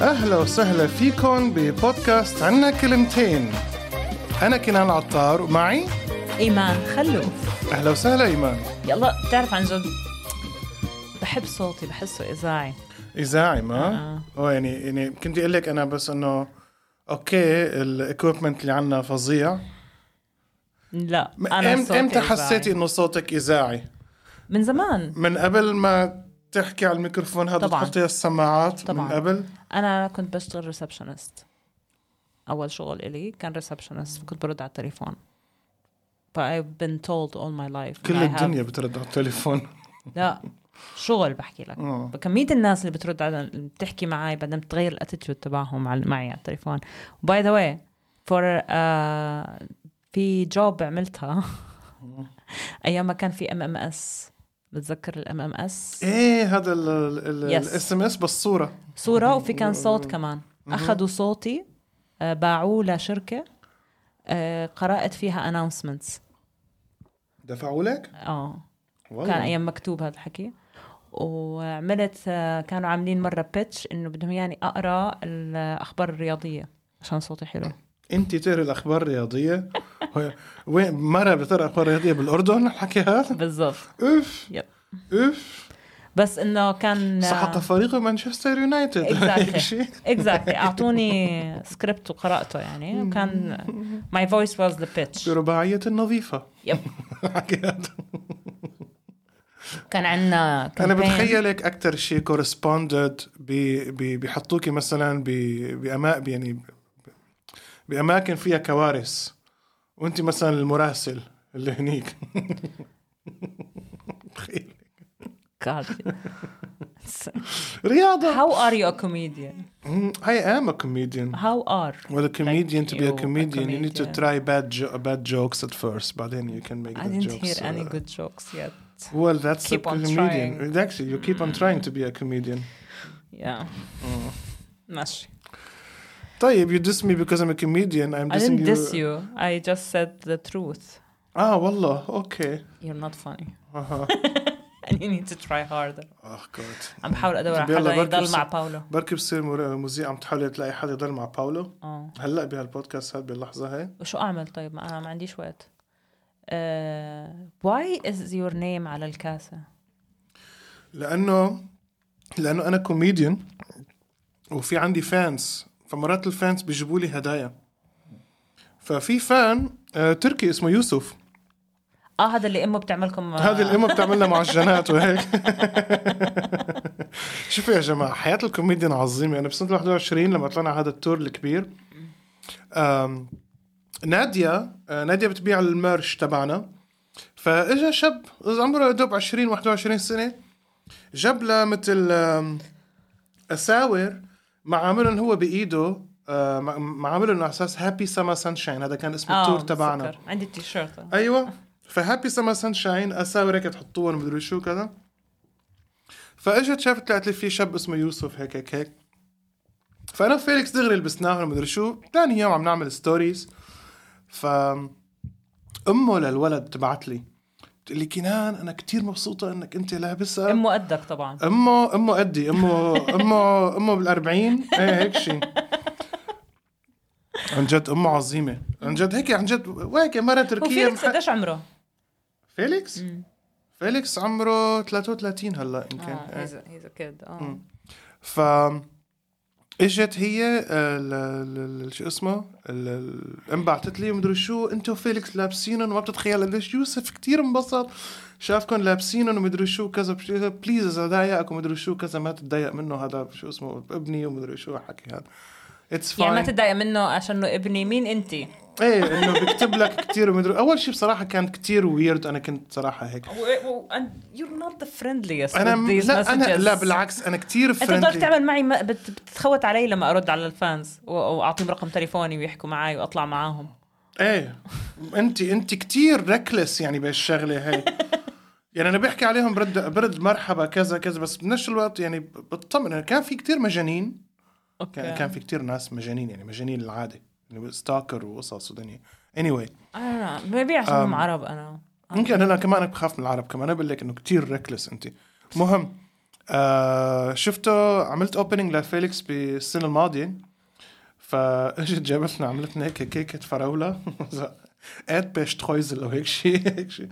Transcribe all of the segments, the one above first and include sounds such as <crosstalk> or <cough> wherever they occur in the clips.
أهلا وسهلا فيكم ببودكاست عنا كلمتين أنا كنان عطار ومعي ايمان خلوف أهلا وسهلا إيمان يلا بتعرف عن جد بحب صوتي بحسه اذاعي إذاعي ما أو يعني يعني كنت أقول لك أنا بس إنه أوكي الإكويبمنت اللي عنا فظيع لا م- انا إمت- صوتي إمتى إذاعي. حسيتي إنه صوتك إذاعي؟ من زمان من قبل ما تحكي على الميكروفون هذا طبعاً. تحطي السماعات طبعاً. من قبل انا كنت بشتغل ريسبشنست اول شغل إلي كان ريسبشنست كنت برد على التليفون ف I've been told all my life كل I have- الدنيا بترد على التليفون لا شغل بحكي لك آه. كمية الناس اللي بترد على بتحكي معي بعدين بتغير الاتيتيود تبعهم على- معي على التليفون باي ذا واي فور آه، في جوب عملتها <laughs> ايام ما كان في ام ام اس بتذكر الام ام اس ايه هذا Yes. الاس ام اس بس صوره صورة وفي كان صوت كمان اخذوا صوتي آه، باعوه لشركة آه، قرأت فيها اناونسمنتس دفعوا لك؟ اه والله كان ايام مكتوب هذا الحكي وعملت آه، كانوا عاملين مره بيتش انه بدهم يعني ياني اقرا الاخبار الرياضيه عشان صوتي حلو <laughs> انت تقري الاخبار الرياضيه هو- وين مره بتقرا اخبار رياضيه بالاردن الحكي هذا بالضبط اوف يب. نعم. اوف بس انه كان آه، سحق فريق مانشستر يونايتد هيك <laughs> شيء. اكزاكتلي اعطوني سكريبت وقراته يعني وكان ماي فويس واز ذا بيتش برباعيه نظيفه يب الحكي هذا. كان عندنا انا بتخيلك اكثر شيء كورسبوندد بيحطوكي مثلا باماكن يعني ب- باماكن فيها كوارث وانت مثلا المراسل اللي هنيك <laughs> تخيل. رياضه هاو ار يو كوميديان I am a comedian هاو ار Well, a comedian to be a you, a comedian, you need to comedian. try bad jo- bad jokes at first, but then you can make I the didn't jokes. hear any uh, good jokes yet. Well, that's Keep a on comedian. trying. Actually, you keep on trying to be a comedian. Yeah. Mm. ماشي. طيب, you diss me because I'm a comedian. I'm I dissing didn't diss you. I just said the truth. Ah, والله. Okay. You're not funny. <laughs> Uh-huh. And you need to try harder. <laughs> oh God. عم بحاول ادور طب على يلا حدا بركي يضل بس- مع باولو بركي بصير مر- مذيع عم تحاولي تلاقي حدا يضل مع باولو اه هلا بهالبودكاست هاد باللحظه هاي وشو اعمل طيب ما انا ما عنديش وقت آه، why is your name على الكاسة؟ لانه لانه انا كوميديان وفي عندي فانس فمرات الفانس بيجيبوا لي هدايا ففي فان آه، تركي اسمه يوسف اه هذا اللي امه بتعملكم آه، هذه الامه بتعملنا معجنات وهيك <laughs> شوفوا يا جماعه حياه الكوميديان عظيمه انا بسنه 21 لما طلعنا هذا التور الكبير آم، ناديه آه، ناديه بتبيع الميرش تبعنا فاجا شاب عمره دوب 20 21 سنه جاب له مثل آم، اساور معاملهم هو بايده آه، مع- معاملهم على اساس هابي سما سانشاين هذا كان اسم آه، التور تبعنا بتذكر. عندي التيشيرت ايوه فهابي سما سانشاين اساور هيك تحطوهم مدري شو كذا فاجت شافت طلعت لي في شاب اسمه يوسف هيك هيك هيك فانا وفيليكس دغري لبسناهم مدري شو ثاني يوم عم نعمل ستوريز ف امه للولد تبعت لي بتقول لي كنان انا كتير مبسوطه انك انت لابسها امه قدك طبعا امه امه قدي امه امه امه بالأربعين ايه هيك شيء عن جد امه عظيمه عن جد هيك عن جد وهيك مره تركيه وفيليكس قديش عمره؟ فيليكس فيليكس عمره 33 هلا يمكن آه. هيز كيد اه ف اجت هي آه، ل- ل- ل- شو اسمه ال- ال- ام بعثت لي مدري شو انت وفيليكس لابسينهم وما بتتخيل قديش يوسف كتير انبسط شافكم لابسينهم ومدري شو كذا بش- بليز اذا ضايقك ومدري شو كذا ما تتضايق منه هذا شو اسمه ابني ومدري شو حكي هذا اتس يعني ما تتضايق منه عشانه ابني مين انت؟ ايه انه بكتب لك كثير ومدري اول شيء بصراحه كان كثير ويرد انا كنت صراحه هيك you're not the friendliest انا with these لا انا لا messages. بالعكس انا كثير انت بتقدر تعمل معي ما- بت- بتتخوت علي لما ارد على الفانز و- واعطيهم رقم تليفوني ويحكوا معي واطلع معاهم ايه انت انت كثير ركلس يعني بهالشغله <laughs> هاي يعني انا بحكي عليهم برد برد مرحبا كذا كذا بس بنفس الوقت يعني بطمن كان في كثير مجانين يعني كان, كان في كثير ناس مجانين يعني مجانين العاده يعني ستاكر وقصص ودنيا anyway انا maybe عشان هم عرب انا يمكن انا كمان بخاف من العرب كمان انا بقول لك انه كثير ركلس انت مهم آه شفته عملت اوبننج لفيليكس بالسنه الماضيه فاجت جابت لنا عملت لنا هيك كيكه فراوله <laughs> اد بيش تخويزل او هيك شيء هيك شيء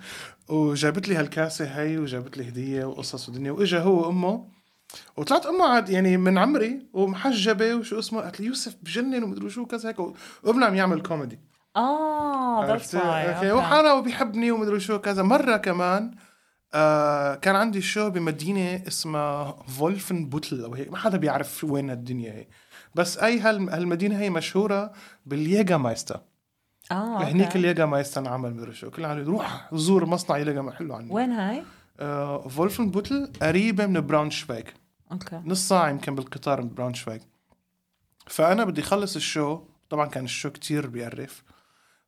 وجابت لي هالكاسه هي وجابت لي هديه وقصص ودنيا واجا هو وامه وطلعت امه عاد يعني من عمري ومحجبه وشو اسمه قالت لي يوسف بجنن ومدري شو كذا هيك وابنها عم يعمل كوميدي اه ذاتس عرفتي؟ اوكي وحنا وبيحبني ومدري شو كذا مره كمان آه كان عندي شو بمدينه اسمها فولفن بوتل او هيك ما حدا بيعرف شو وين هالدنيا هي بس اي هال- هالمدينه هي مشهوره بالييجا مايستا اه هنيك أوكي. الييجا مايستا انعمل مدري شو كل عم روح زور مصنع ييجا حلو عني وين هاي؟ آه فولفن بوتل قريبه من براونشفايك اوكي نص ساعة يمكن بالقطار من برونشفايك فأنا بدي خلص الشو طبعا كان الشو كتير بيقرف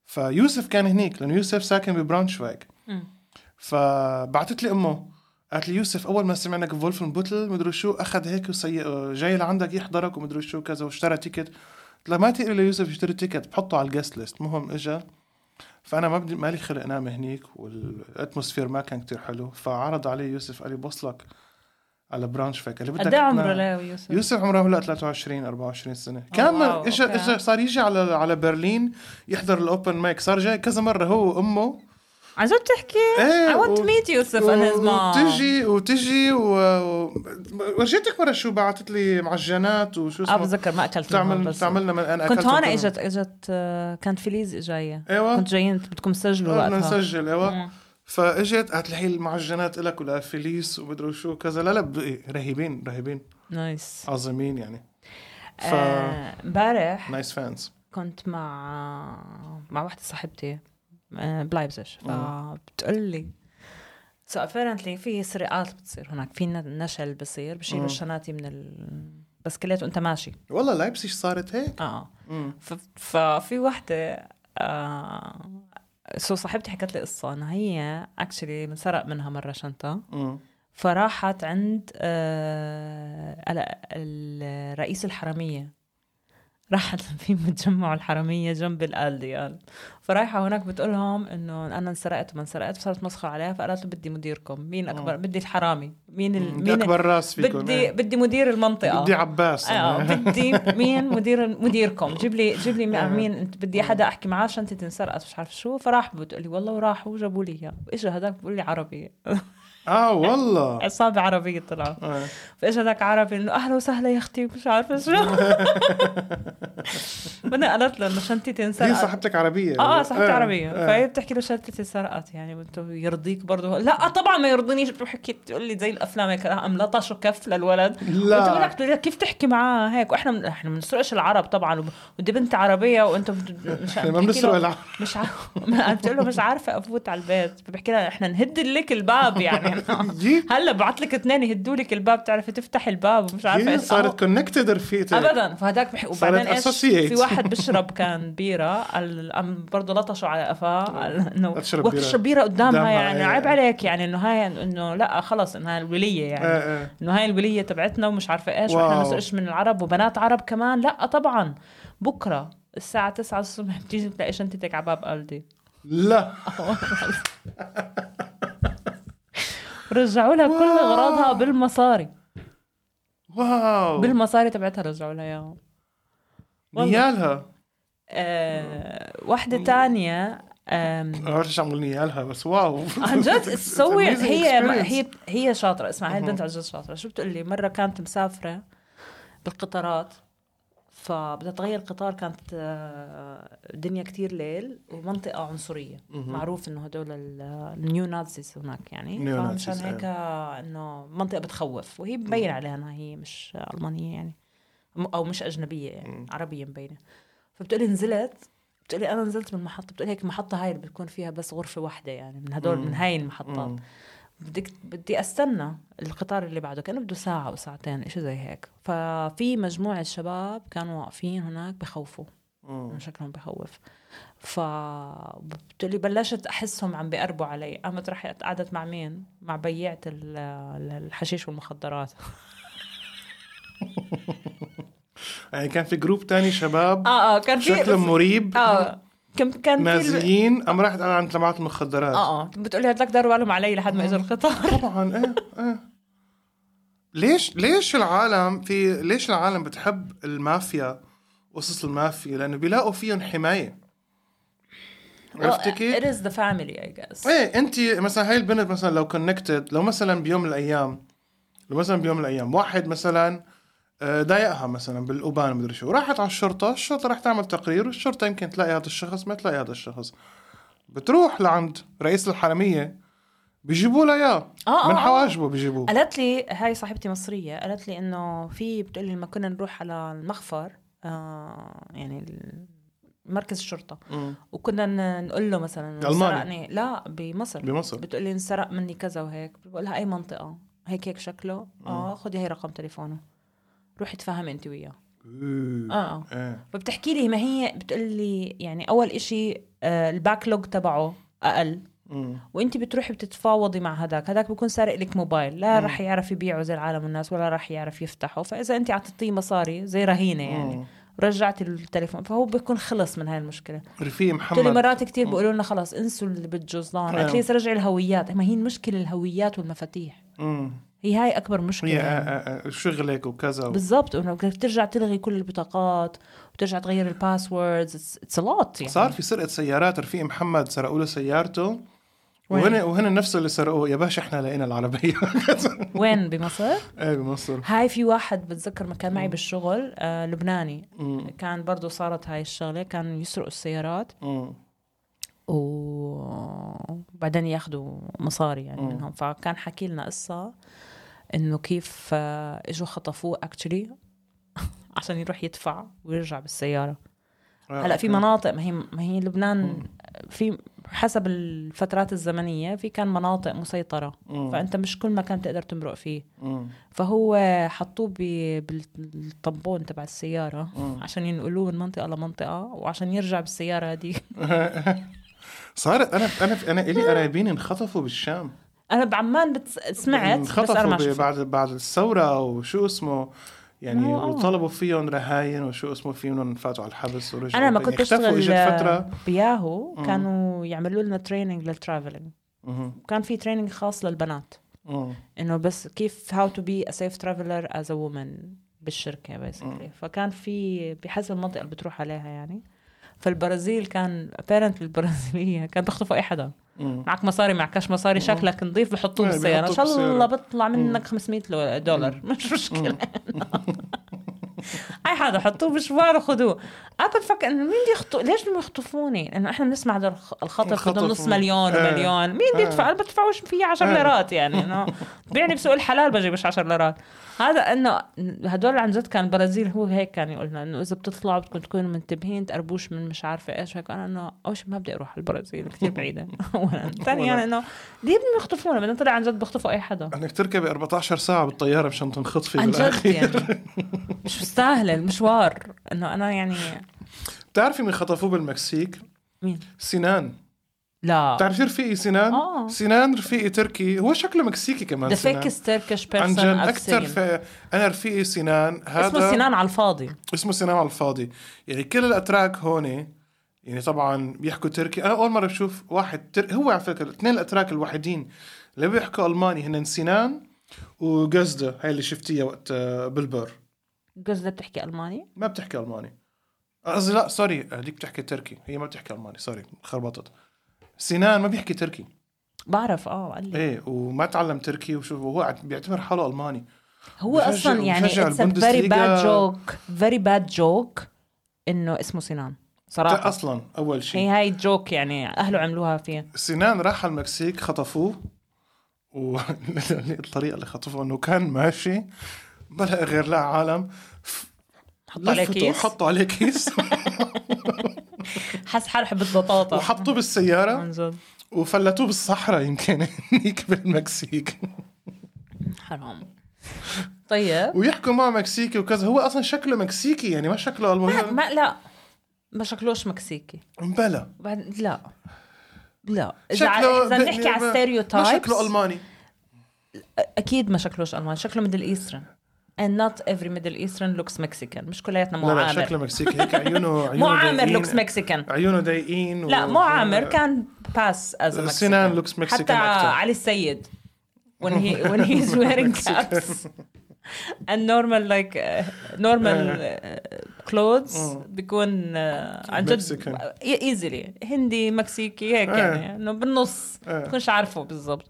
فيوسف كان هنيك لأنه يوسف ساكن ببرونشفايك مم. فبعتت لي أمه قالت لي يوسف أول ما سمعناك فولفن بوتل مدري شو أخذ هيك وسي... جاي لعندك يحضرك ومدري شو كذا واشترى تيكت قلت لها ما تقري ليوسف يشتري تيكت بحطه على الجست ليست المهم اجا فانا ما بدي مالي خلق انام هنيك والاتموسفير ما كان كتير حلو فعرض علي يوسف قال لي بوصلك على برانش فيك قال لي بدك قد ايه عمره تنا- ليه يوسف؟ يوسف عمره هلا 23 24 سنه كان واو، اجى أوكي. اجى صار يجي على على برلين يحضر الاوبن مايك صار جاي كذا مره هو وامه عن جد بتحكي؟ I want to meet Yusuf and his mom. إيه، وتجي وتجي و... و- ورجيتك مره شو بعثت لي معجنات وشو اه اسمه بتذكر ما اكلت منهم بتعمل بس بتعملنا من انا كنت أكلت هون وكلهم. اجت اجت آه، كانت فيليز جايه ايوه كنت جايين بدكم تسجلوا بدنا وقتها نسجل ايوه مم. فاجت قالت لي هي المعجنات لك ولا فيليس ومدري شو كذا لا لا ب- إيه، رهيبين رهيبين نايس عظيمين يعني ف آه، امبارح نايس فانز كنت مع مع وحده صاحبتي آه، بلايبزش فبتقول لي سو ابيرنتلي في سرقات بتصير هناك في نشل بصير بشيلوا الشناتي من البسكليت وانت ماشي والله لايبسيش صارت هيك اه مم. ف- ففي وحده آه سو صاحبتي حكت لي قصه انها هي اكشلي انسرق منها مره شنطه مم. فراحت عند آه ال- ال- رئيس الحرمية راحت <laughs> في متجمع الحرمية جنب الألديال فرايحة هناك بتقولهم إنه أنا انسرقت وما انسرقت صارت مسخرة عليها فقالت له بدي مديركم مين أكبر بدي الحرامي مين ال... آه. بدي مين اكبر راس فيكم بدي إيه. بدي مدير المنطقة بدي عباس اه أنا. <laughs> بدي مين مدير مديركم جيب لي جيب لي آه. مع مين انت بدي حدا احكي معاه شنطتي انسرقت مش عارف شو فراح بتقول لي والله وراحوا وجابوا لي اياه واجا هذاك بيقول لي عربي اه <laughs> والله عصابة عربية طلعوا آه. فاجا هذاك عربي انه اهلا وسهلا يا اختي مش عارفه <laughs> شو وانا قالت له انه شنطتي هي انسرقت صاحبتك عربيه اه آه، صاحبتي آه، عربيه آه. فهي بتحكي له شنطتي انسرقت يعني انت يرضيك برضه لا طبعا ما يرضينيش بتحكي تقول لي زي الافلام هيك آه، املطه شو كف للولد لا. بتقول لك بتقول لك كيف تحكي معاه هيك واحنا من... احنا ما بنسرقش العرب طبعا وب- ودي بنت عربيه وانت بت- مش إحنا يعني ما بتحكي بنسرق له- العرب. مش عارف <laughs> بتقول له مش عارفه افوت على البيت فبحكي لها احنا نهد لك الباب <laughs> يعني <laughs> يي. هلا بعت لك اثنين يهدوا لك الباب تعرفي تفتحي الباب ومش عارفه هي إيش. صارت كونكتد رفيقتي ابدا فهداك بحق وبعدين ايش associate. في واحد بيشرب كان بيره قال قام برضه لطشوا على قفاه قال انه لا تشرب وقت بيرة. تشرب بيره قدامها قدامها، يعني إيه. عيب عليك يعني انه هاي انه لا خلص انها الوليه يعني آه، آه. انه هاي الوليه تبعتنا ومش عارفه ايش واحنا واو. ما نسرقش من العرب وبنات عرب كمان لا طبعا بكره الساعة 9 الصبح <laughs> بتيجي بتلاقي شنطتك على باب ألدي <laughs> لا رجعوا لها كل واو. أغراضها بالمصاري واو بالمصاري تبعتها رجعوا لها إياهم والله. نيالها آه، واحدة تانية آم، ما بعرف ايش عم بقول نيالها بس <laughs> واو <laughs> عن جد It's تسوي amazing هي ما experience. هي هي شاطرة اسمع هي البنت عن جد شاطرة شو بتقول لي مرة كانت مسافرة بالقطارات فبدها تغير قطار كانت آه، الدنيا كتير ليل ومنطقة عنصرية معروف انه هدول النيو نازيز هناك يعني Neo Nazis، فمشان هيك إيه. انه منطقة بتخوف وهي مبين عليها انها هي مش ألمانية يعني م- او مش اجنبية يعني عربية مبينة فبتقولي نزلت بتقولي انا نزلت من المحطه بتقولي هيك المحطه هاي اللي بتكون فيها بس غرفه واحده يعني من هدول من هاي المحطات بدك بدي استنى القطار اللي بعده كانه بده ساعه او ساعتين شيء زي هيك ففي مجموعه شباب كانوا واقفين هناك بخوفوا مم. إنه شكلهم بخوف فبتقولي بلشت احسهم عم بيقربوا علي قامت رحت قعدت مع مين مع بيعه ال- الحشيش والمخدرات <laughs> يعني كان في جروب تاني شباب اه اه كان في شكلهم مريب اه كان كان في آه. نازلين قام راحت آه، قال عن تبعات المخدرات اه اه بتقولي هدلاك داروا بالهم علي لحد ما اجى القطار طبعا ايه ايه آه، ليش ليش العالم في ليش العالم بتحب المافيا قصص المافيا لانه بيلاقوا فيهم حمايه آه، عرفتي كيف؟ It is the family I guess. ايه انت مثلا هاي البنت مثلا لو كونكتد لو مثلا بيوم من الايام لو مثلا بيوم من الايام واحد مثلا آه، ضايقها مثلا بالأبان مدري شو راحت على الشرطة الشرطة رح تعمل تقرير والشرطة يمكن تلاقي هذا الشخص ما تلاقي هذا الشخص بتروح لعند رئيس الحرمية بيجيبوا لها اياه آه، آه، من آه. حواجبه بيجيبوه قالت لي هاي صاحبتي مصرية قالت لي إنه في بتقول لي لما كنا نروح على المخفر آه يعني ال- مركز الشرطة مم. وكنا ن- نقول له مثلا ألماني. سرقني لا بمصر بمصر. بتقول لي انسرق مني كذا وهيك بقول لها أي منطقة هيك هيك شكله آه. اه خدي هي رقم تليفونه روحي تفهمي انت وياه اه اه ايه فبتحكي لي ما هي بتقول لي يعني اول إشي آه الباك لوج تبعه اقل إيه، مم. وانت بتروحي بتتفاوضي مع هداك هداك بكون سارق لك موبايل لا رح يعرف يبيعه زي العالم والناس ولا رح يعرف يفتحه فاذا انت اعطيتيه مصاري زي رهينه يعني مم. رجعتي التليفون فهو بيكون خلص من هاي المشكله رفيق قلت لي محمد مرات كتير بيقولوا لنا خلص انسوا اللي بالجزران أيوة. اتليست رجعي الهويات ما هي المشكله الهويات والمفاتيح مم. هي هاي اكبر مشكله هي يعني. آه، آه، شغلك وكذا و... بالضبط انه بدك ترجع تلغي كل البطاقات وترجع تغير الباسوردز اتس لوت يعني صار في سرقة سيارات رفيق محمد سرقوا له سيارته وين؟ وهن وهن نفس اللي سرقوه يا باشا احنا لقينا <laughs> العربية وين بمصر؟ ايه بمصر هاي في واحد بتذكر ما كان معي بالشغل آه لبناني كان برضو صارت هاي الشغلة كان يسرقوا السيارات مم. و- وبعدين ياخدوا مصاري يعني منهم فكان حكي لنا قصة انه كيف آه، اجوا خطفوه اكشلي <laughs> عشان يروح يدفع ويرجع بالسيارة آه، هلا في أوكي. مناطق ما هي ما هي لبنان في حسب الفترات الزمنية في كان مناطق مسيطرة مم. فأنت مش كل مكان تقدر تمرق فيه مم. فهو حطوه ب- بالطبون تبع السيارة عشان ينقلوه من منطقة لمنطقة وعشان يرجع بالسيارة هدي صارت انا انا انا الي قرايبين انخطفوا بالشام <laughs> أنا بعمان بتس... سمعت بس أنا ما انخطفوا شفت بعد بعد الثوره وشو اسمه يعني ما هو آه. وطلبوا فيهم رهاين وشو اسمه فيهم فاتوا على الحبس ورجعوا أنا ما تاني. كنت اختفوا أشتغل اجت فتره بياهو كانوا يعملوا لنا تريننج للترافلينج مهم. وكان في تريننج خاص للبنات مم. انه بس كيف هاو تو بي ا سيف ترافلر از ا وومن بالشركه بيسكلي فكان في بحسب المنطقه اللي بتروح عليها يعني فالبرازيل كان apparently البرازيليه كان بيخطفوا اي حدا مم. معك مصاري معكش مصاري شكلك نظيف بحطوه إيه، بالسياره ان بيحطوه شاء الله بالسيارة. بطلع منك 500 لو- دولار مش مشكله <laughs> اي حدا حطوه بشوار وخذوه انا بفكر انه مين يخطو ليش بدهم يخطفوني؟ لانه احنا بنسمع هدول الخ- الخطف بدهم الخطف نص و- مليون إيه. ومليون مين إيه. بيدفع؟ انا بدفعوش فيه 10 إيه. ليرات يعني انه بيعني بسوق الحلال بجيبش 10 ليرات هذا انه هدول عن جد كان البرازيل هو هيك كان يقول لنا انه اذا بتطلعوا بدكم تكونوا منتبهين تقربوش من مش عارفه ايش هيك انا انه اول شيء ما بدي اروح على البرازيل كثير <laughs> بعيده اولا ثانيا انه ليه بدهم يخطفونا بدنا طلع عن جد بخطفوا اي حدا انك تركبي 14 ساعه بالطياره مشان تنخطفي عن جد بالاخير <laughs> يعني مش مستاهله المشوار انه انا يعني بتعرفي مين خطفوه بالمكسيك؟ مين؟ سنان لا بتعرفي رفيقي سنان؟ آه. سنان رفيقي تركي هو شكله مكسيكي كمان ذا سنان فيكست تركش عن بيرسون جد I've اكثر seen في انا رفيقي سنان هذا اسمه سنان على الفاضي اسمه سينما على الفاضي يعني كل الاتراك هون يعني طبعا بيحكوا تركي انا اول مره بشوف واحد تر... هو على فكره الاثنين الاتراك الوحيدين اللي بيحكوا الماني هن سنان وجزدة هاي اللي شفتيها وقت آه، بالبر جوز بتحكي الماني ما بتحكي الماني قصدي لا سوري هذيك بتحكي تركي هي ما بتحكي الماني سوري خربطت سنان ما بيحكي تركي بعرف اه قال لي ايه وما تعلم تركي وشو وهو عت- بيعتبر حاله الماني هو بشجع- اصلا يعني بشجع اتس فيري باد البوندسليغا. جوك فيري باد جوك انه اسمه سنان صراحه اصلا اول شيء هي هاي جوك يعني اهله عملوها فيه سنان راح على المكسيك خطفوه <laughs> والطريقه اللي خطفوه انه كان ماشي بلا غير لا عالم حطوا عليه لفته كيس حطوا عليه <laughs> كيس حس حاله حبه بطاطا وحطوه بالسياره عن جد وفلتوه بالصحراء يمكن <laughs> هنيك بالمكسيك حرام طيب ويحكوا معه مكسيكي وكذا هو اصلا شكله مكسيكي يعني ما شكله ما, الماني ما لا ما شكلوش مكسيكي بلا بعد لا لا اذا شكله ع- اذا نحكي على ما الستيريوتايبس شكله الماني اكيد ما شكلوش الماني شكله ميدل ايسترن and not every middle eastern looks mexican مش كلياتنا مو لا لا شكله عامر مكسيكي هيك <laughs> عيونه عيونه مو عامر ضايقين. looks mexican عيونه ضايقين لا و- مو عامر كان باس از سنان looks Mexican حتى أكتر. <laughs> علي السيد when he when he's wearing caps and normal like uh, normal uh, clothes آه. بيكون uh, عن Mexican. جد ايزلي هندي مكسيكي هيك آه. يعني انه بالنص آه. بتكونش عارفه بالضبط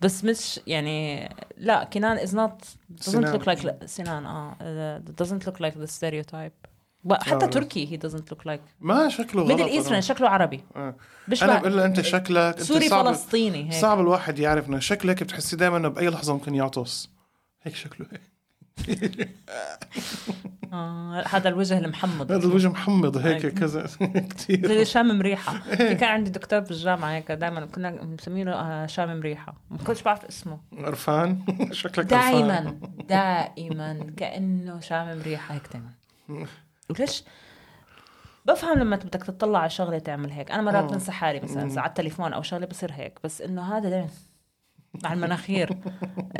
بس مش يعني لا كنان is not doesn't سنان. look like سنان اه uh, doesn't look like the stereotype و- حتى آه. تركي he doesn't look like ما شكله غلط ميدل ايسترن أنا. شكله عربي آه. بيشبه انا بقول له انت شكلك انت سوري صعب فلسطيني هيك صعب الواحد يعرف انه شكلك بتحسي دائما انه باي لحظه ممكن يعطس هيك شكله هيك آه هذا الوجه المحمض هذا الوجه محمض هيك هيك. كذا <laughs> كثير زي <laughs> شامم ريحه في كان عندي دكتور بالجامعه هيك دائما كنا مسمينه آه، شامم ريحه ما كنتش <laughs> بعرف اسمه قرفان شكلك دائما دائما كانه شامم ريحه هيك دائما وليش بفهم لما أنت بدك تطلع على شغله تعمل هيك انا مرات آه. بنسى حالي مثلا على التليفون او شغله بصير هيك بس انه هذا دائما مع المناخير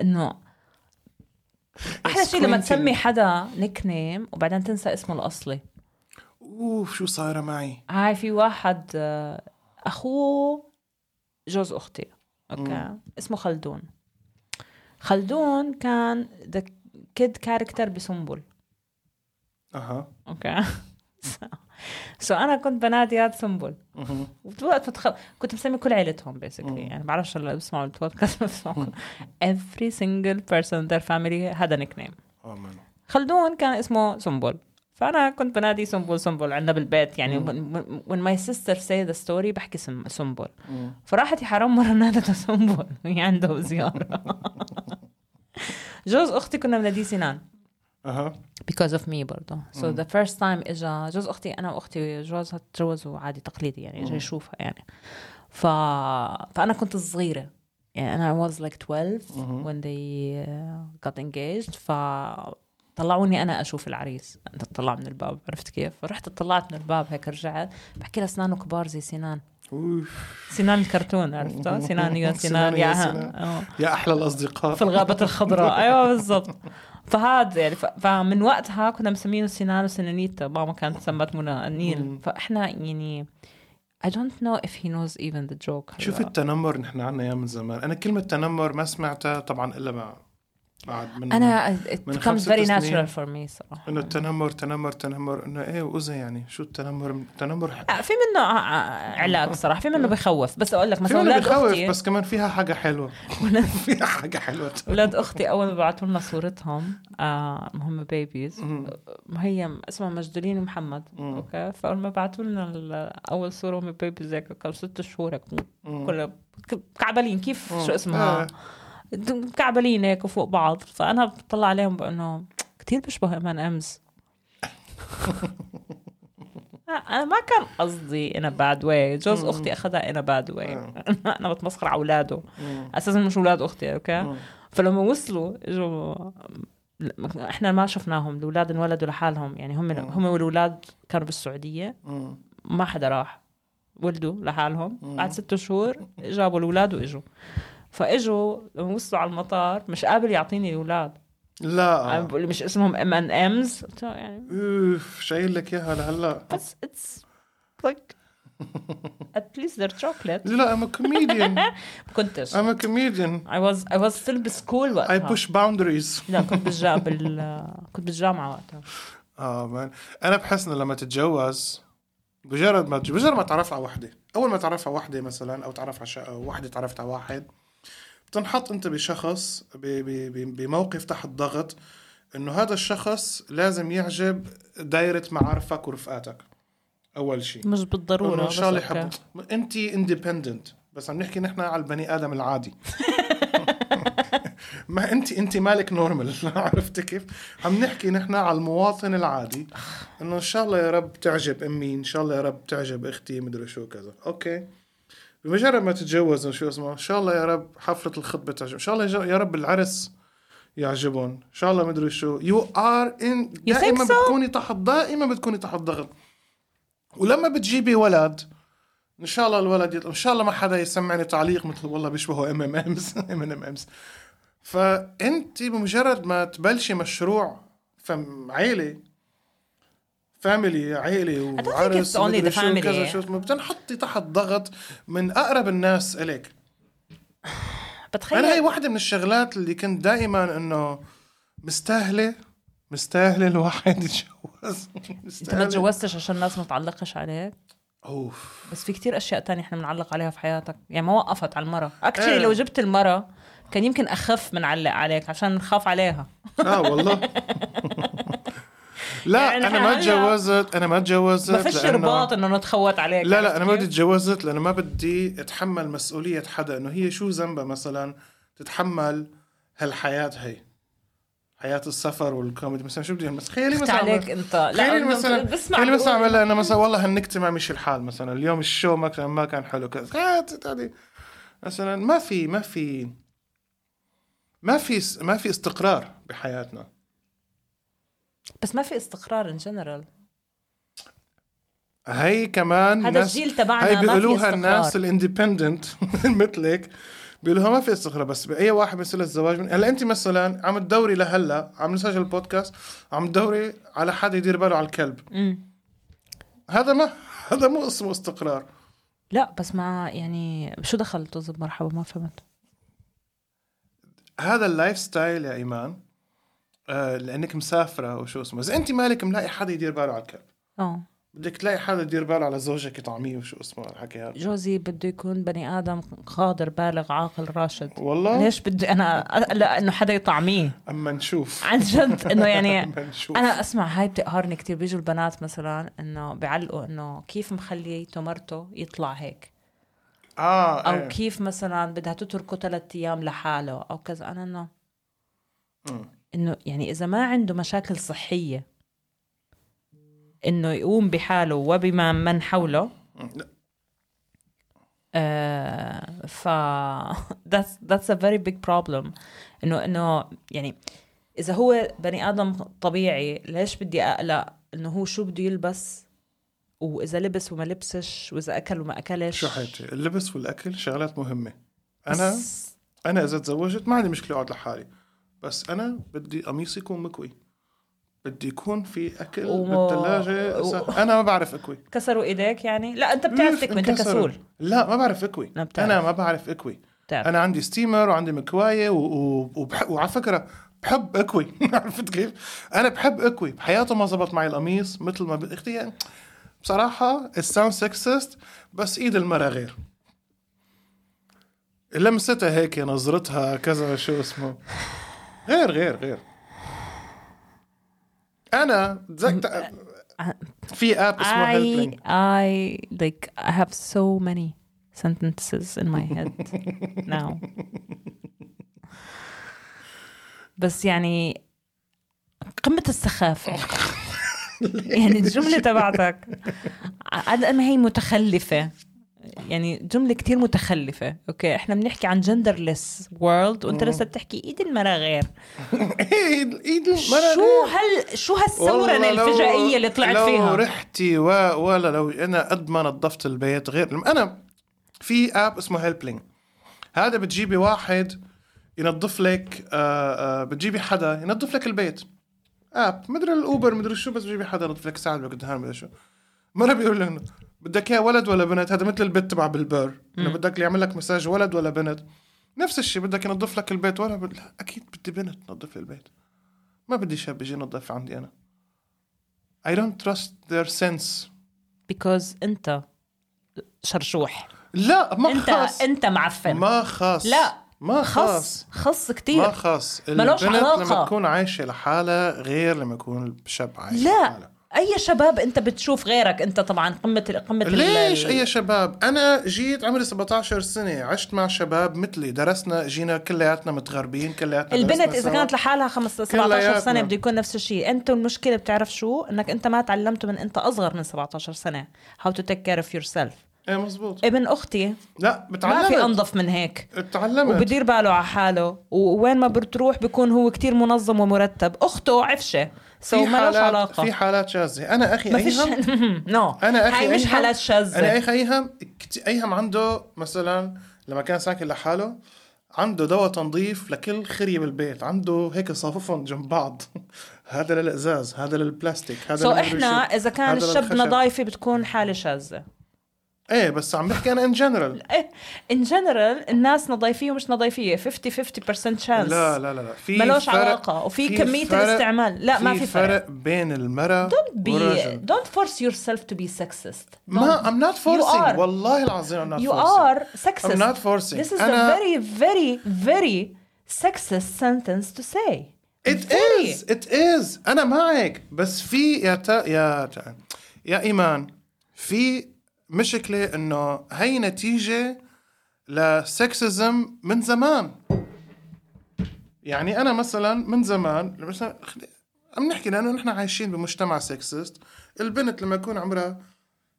انه احلى شيء لما Squinting. تسمي حدا نيك نيم وبعدين تنسى اسمه الاصلي اوف شو صايره معي هاي في واحد آه، اخوه جوز اختي اوكي اسمه خلدون خلدون كان ذا كيد كاركتر بسنبل اها <laughs> اوكي سو انا كنت بنادي هاد سنبل مهم. وقت بتخ... كنت مسمي كل عيلتهم بيسكلي يعني بعرفش هلا بسمعوا البودكاست <laughs> بسمعوا every single person in their family هذا نيك نيم آمين. خلدون كان اسمه سنبل فانا كنت بنادي سنبل سنبل عندنا بالبيت يعني when my sister say the story بحكي سم- سنبل فراحت يا حرام مره <laughs> نادته سنبل وهي عنده زياره جوز اختي كنا بناديه سنان اها because of me برضه so the first time اجا جوز اختي انا واختي جوزها تجوزوا عادي تقليدي يعني اجا يشوفها يعني ف... فانا كنت صغيره يعني انا I was like 12 when they uh, got engaged ف طلعوني انا اشوف العريس طلع من الباب عرفت كيف فرحت طلعت من الباب هيك رجعت بحكي لها اسنانه كبار زي سنان أوف. سنان <laughs> الكرتون عرفتها سنان يا سنان سنان يا يا ها سنان. آه. يا احلى الاصدقاء في الغابة <laughs> الخضراء ايوه بالضبط فهذا يعني ف- فمن وقتها كنا مسمينه سنان وسنانيتا ماما كانت سمت منى النيل فاحنا يعني I don't know if he knows even the joke شوف هلا. التنمر نحن عنا اياه من زمان انا كلمه تنمر ما سمعتها طبعا الا مع بعد من انا it من becomes خمس very ست سنين. natural for me صراحة انه التنمر تنمر تنمر انه ايه واذا يعني شو التنمر تنمر ح- آه، في منه آه، آه، علاج صراحة في منه بخوف بس اقول لك مثلا فيهم اللي اولاد بخوف اختي بس كمان فيها حاجه حلوه <laughs> فيها حاجه حلوه اولاد اختي اول ما بعثوا لنا صورتهم آه هم بيبيز آه، هي اسمها مجدولين ومحمد اوكي فاول ما بعثوا لنا ال- اول صوره هم بيبيز هيك كانوا ست شهور هيك كلها ك- كعبلين كيف شو اسمها آه. د- كعبلين هيك وفوق بعض فانا بطلع عليهم بانه كثير بيشبه امان امز <laughs> لا، انا ما كان قصدي ان باد واي جوز اختي اخذها ان باد واي <laughs> انا بتمسخر على اولاده اساسا مش اولاد اختي اوكي فلما وصلوا اجوا احنا ما شفناهم الاولاد انولدوا لحالهم يعني هم هم والاولاد كانوا بالسعوديه ما حدا راح ولدوا لحالهم بعد ست شهور جابوا الاولاد واجوا فاجوا لما وصلوا على المطار مش قابل يعطيني الاولاد لا آه. أنا بقول له مش اسمهم ام ان امز يعني اوف شايل لك اياها لهلا بس اتس لايك ات least they're <laughs> chocolate <laughs> لا ام كوميديان كنتش ام كوميديان I was I was still بسكول اي وقتها بوش باوندريز لا كنت بالجا بال كنت بالجامعه وقتها اه مان انا بحس انه لما تتجوز مجرد ما تج- مجرد ما تعرف على وحده اول ما تعرف على وحده مثلا او تعرف على ش... أو وحده تعرفت على واحد بتنحط انت بشخص ب... ب... ب... بموقف تحت ضغط انه هذا الشخص لازم يعجب دايره معارفك ورفقاتك اول شيء مش بالضروره إنه ان شاء الله بس أوكي. يحبوا انت اندبندنت بس عم نحكي نحن على البني ادم العادي <laughs> ما انت انت مالك نورمال <laughs> عرفت كيف؟ عم نحكي نحن على المواطن العادي انه ان شاء الله يا رب تعجب امي ان شاء الله يا رب تعجب اختي مدري شو كذا اوكي بمجرد ما تتجوز شو اسمه ان شاء الله يا رب حفله الخطبه تعجب ان شاء الله يا- يا رب العرس يعجبهم ان شاء الله مدري شو يو ار ان You think دائما so? بتكوني تحت دائما بتكوني تحت ضغط ولما بتجيبي ولد ان شاء الله الولد يطلع ان شاء الله ما حدا يسمعني تعليق مثل والله بيشبهوا ام ام <laughs> امز ام ام امز فانت بمجرد ما تبلشي مشروع فم عيله فاميلي عيلة think وعرس it's only ومدري the شو family. كذا شو اسمه بتنحطي تحت ضغط من اقرب الناس اليك بتخيل طيب. انا هي واحدة من الشغلات اللي كنت دائما انه مستاهله مستاهله الواحد يتجوز <laughs> انت ما مستاهلة. تجوزتش عشان الناس ما تعلقش عليك اوف بس في كتير اشياء تانية احنا بنعلق عليها في حياتك يعني ما وقفت على المرة اكشلي إيه. لو جبت المرة كان يمكن اخف من علق عليك عشان نخاف عليها اه <laughs> والله لا يعني انا ما هلا- تجوزت انا ما تجوزت ما فيش لأنه- رباط انه نتخوت عليك لا لا انا ما عرفت بدي كيف؟ اتجوزت لانه ما بدي اتحمل مسؤوليه حدا انه هي شو ذنبها مثلا تتحمل هالحياه هي حياه السفر والكوميدي مثلا شو بدي أعمل؟ مثلا خيالي فخت مثلا عليك انت لا خيالي أنا مثلا بسمع خيالي مثلا بقول- اعملها انه مثلا والله هالنكته ما مشي الحال مثلا اليوم الشو ما كان ما كان حلو كذا خيالات هذه مثلا ما في ما في ما في ما في استقرار بحياتنا بس ما في استقرار ان جنرال هي كمان هذا ناس- الجيل تبعنا هاي ما في بيقولوها استقرار. الناس الاندبندنت <laughs> مثلك بيقولوها ما في استقرار بس باي واحد بيصير له الزواج من هلا انت مثلا عم تدوري لهلا عم نسجل بودكاست عم تدوري على حدا يدير باله على الكلب امم هذا ما <laughs> هذا مو اسمه استقرار لا بس ما يعني شو دخل طز مرحبا ما فهمت هذا اللايف ستايل يا ايمان آه لانك مسافره وشو اسمه اذا انت مالك ملاقي حدا يدير باله على الكلب اه بدك تلاقي حدا يدير باله على زوجك يطعميه وشو اسمه الحكي هذا جوزي بده يكون بني ادم قادر بالغ عاقل راشد والله ليش بدي انا لا انه حدا يطعميه اما نشوف عن جد <laughs> انه يعني اما نشوف انا اسمع هاي بتقهرني كتير بيجوا البنات مثلا انه بيعلقوا انه كيف مخليته مرته يطلع هيك اه او إيه. كيف مثلا بدها تتركه ثلاث ايام لحاله او كذا انا انه مم. انه يعني اذا ما عنده مشاكل صحيه انه يقوم بحاله وبما من حوله لا. آه ف that's that's a very big problem انه انه يعني اذا هو بني ادم طبيعي ليش بدي اقلق انه هو شو بده يلبس واذا لبس وما لبسش واذا اكل وما اكلش شو حياتي اللبس والاكل شغلات مهمه انا بس- انا اذا تزوجت ما عندي مشكله اقعد لحالي بس انا بدي قميصي يكون مكوي بدي يكون في اكل و- بالثلاجه و- سهل. انا ما بعرف اكوي كسروا ايديك يعني لا انت بتعرف أوف، تكوي انت انكسروا. كسول لا ما بعرف اكوي ما بتعرف. انا ما بعرف اكوي بتعرف. انا عندي ستيمر وعندي مكوايه و... و... وبح... وعلى فكره بحب اكوي <laughs> عرفت كيف؟ انا بحب اكوي بحياته ما زبط معي القميص مثل ما ب... اختي يعني بصراحه الساوند سكسست بس ايد المرة غير لمستها هيك نظرتها كذا شو اسمه غير غير غير انا تذكر في اب اسمه <laughs> I هيلبلينج I like I have so many sentences in my <laughs> head now. بس يعني قمة <laughs> السخافة يعني الجملة تبعتك قد ما هي متخلفة يعني جملة كتير متخلفة اوكي احنا بنحكي عن genderless world وانت لسه بتحكي ايد المرا غير ايد ايد المرة شو هال شو هالثورة والله لو- الفجائية اللي طلعت لو فيها لو رحتي و... ولا لو انا قد ما نظفت البيت غير انا في اب اسمه هيلبلينج هذا بتجيبي واحد ينظف لك آه آه بتجيبي حدا ينظف لك البيت اب مدري الاوبر مدري شو بس بتجيبي حدا ينظف لك ساعد بدك دهان مدري شو مره بيقول لك إنه بدك اياه ولد ولا بنت هذا مثل البت تبع بالبر انه بدك اللي يعمل لك مساج ولد ولا بنت نفس الشيء بدك ينظف لك البيت ولا بد... لا، اكيد بدي بنت تنظف لي البيت ما بدي شاب يجي ينظف عندي انا I don't trust their sense بيكوز انت شرشوح لا ما انت خاص انت معفن ما خاص لا ما خص خاص خص ما كتير خاص ملوش البنت علاقة. لما تكون عايشة لحالها غير لما يكون الشاب عايش لا لحالها اي شباب انت بتشوف غيرك انت طبعا قمه ال- قمه ال- ليش اي شباب انا جيت عمري 17 سنة عشت مع شباب مثلي درسنا جينا كلياتنا متغربين كلياتنا البنت درسنا اذا سوا. كانت لحالها 15 17 سنه كلياتنا. بده يكون نفس الشيء انت المشكله بتعرف شو انك انت ما تعلمت من انت اصغر من 17 سنه how to take care of yourself ايه مزبوط ابن اختي لا ما في بتعلمت انظف من هيك بتعلمت وبدير باله على حاله ووين ما بتروح بيكون هو كتير منظم ومرتب اخته عفشه سو في ما لهاش حالات علاقه في حالات شاذة انا اخي ما فيش أيهم <laughs> نو انا اخي هاي مش أيهم- حالات انا شاذه اخي ايهم كت- ايهم عنده مثلا لما كان ساكن لحاله عنده دواء تنظيف لكل خريه بالبيت عنده هيك صففهم جنب بعض <laughs> هذا للازاز هذا للبلاستيك هذا سو للمدري احنا شو. اذا كان هذا الشب للخشب. نظايفي بتكون حاله شاذه ايه بس عم بحكي انا ان <laughs> جنرال ان جنرال إيه. الناس نظيفيه ومش نظيفيه 50 50% شانس لا لا لا لا في ملوش فرق- علاقه وفي في كميه فرق- الاستعمال لا ما في فرق فرق بين المرأة بي والرجل don't force yourself to be sexist ما I'm not forcing are. والله العظيم I'm not you forcing are sexist I'm not forcing. this is أنا- a very very very sexist sentence to say It Very. is it is انا معك بس في يا تا يا تا يا ايمان في مشكله انه هي نتيجه لسكسزم من زمان يعني انا مثلا من زمان مثلا خلي- عم نحكي لانه نحن عايشين بمجتمع سكسست البنت لما يكون عمرها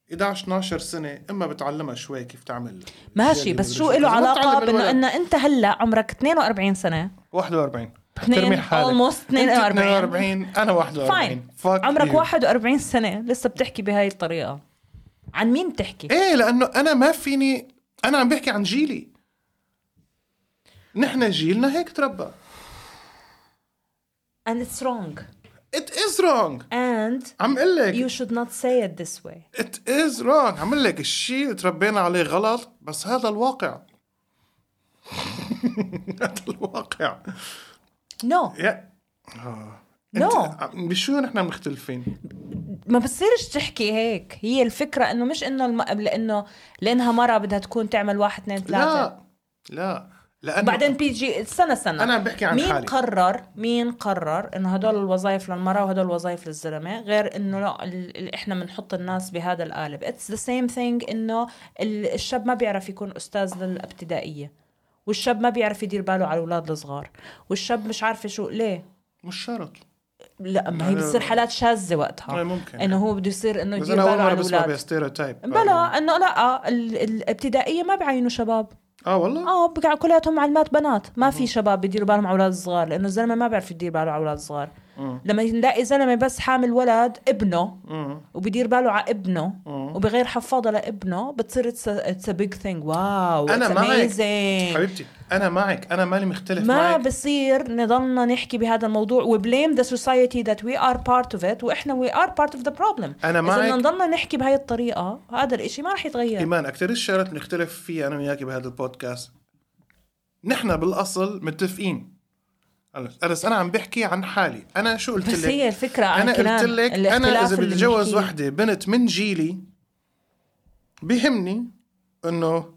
11 12 سنه اما بتعلمها شوي كيف تعمل ماشي بس شو له علاقه بانه ان انت هلا عمرك 42 سنه 41 اثنين، ترمي حالك almost أنت 42. 42 انا 41 فاين Fuck عمرك you. 41 سنه لسه بتحكي بهاي الطريقه عن مين بتحكي ايه لانه انا ما فيني انا عم بحكي عن جيلي نحن جيلنا هيك تربى and it's wrong it is wrong and عم اقول you لك should not say it this way it is wrong عم اقول لك الشيء اللي تربينا عليه غلط بس هذا الواقع <laughs> هذا الواقع no يا no عم- بشو نحن مختلفين؟ ما بتصيرش تحكي هيك هي الفكره انه مش انه الم... لانه لانها مره بدها تكون تعمل واحد اثنين ثلاثه لا لا لانه بعدين بيجي استنى استنى أنا عم بحكي عن مين يعني حالي. قرر مين قرر انه هدول الوظائف للمراه وهدول الوظائف للزلمه غير انه لا ال... ال- احنا بنحط الناس بهذا القالب اتس ذا سيم ثينج انه ال- الشاب ما بيعرف يكون استاذ للابتدائيه والشاب ما بيعرف يدير باله على الاولاد الصغار والشاب مش عارفه شو ليه مش شرط لا ما هي بتصير حالات شاذه وقتها إيه، ممكن. انه هو بده يصير انه بس يدير انا اول باله مره على بسمع الاولاد بستيريوتايب بلا انه لا آه، ال- الابتدائيه ما بعينوا شباب اه والله اه بقع كلياتهم معلمات بنات ما في شباب بيديروا بالهم على اولاد صغار لانه الزلمه ما بيعرف يدير باله على اولاد صغار لما نلاقي زلمه بس حامل ولد ابنه وبيدير باله على ابنه وبغير حفاضه لابنه بتصير اتس بيج ثينج واو انا it's معك amazing. حبيبتي انا معك انا مالي مختلف إيه. ما معك بصير نضلنا نحكي بهذا الموضوع وبليم ذا سوسايتي ذات وي ار بارت اوف ات واحنا وي ار بارت اوف ذا بروبلم أنا معك. إيه، اذا بدنا نضلنا نحكي بهاي الطريقه هذا الاشي ما رح يتغير ايمان اكثر الشغلات بنختلف فيها انا وياك بهذا البودكاست نحن بالاصل متفقين أنا- بس انا عم بحكي عن حالي انا شو قلت بس لك هي الفكره عن انا كنان. قلت لك انا الاختلاف اذا اللي بدي اتجوز بنحكيه. وحده بنت من جيلي بهمني انه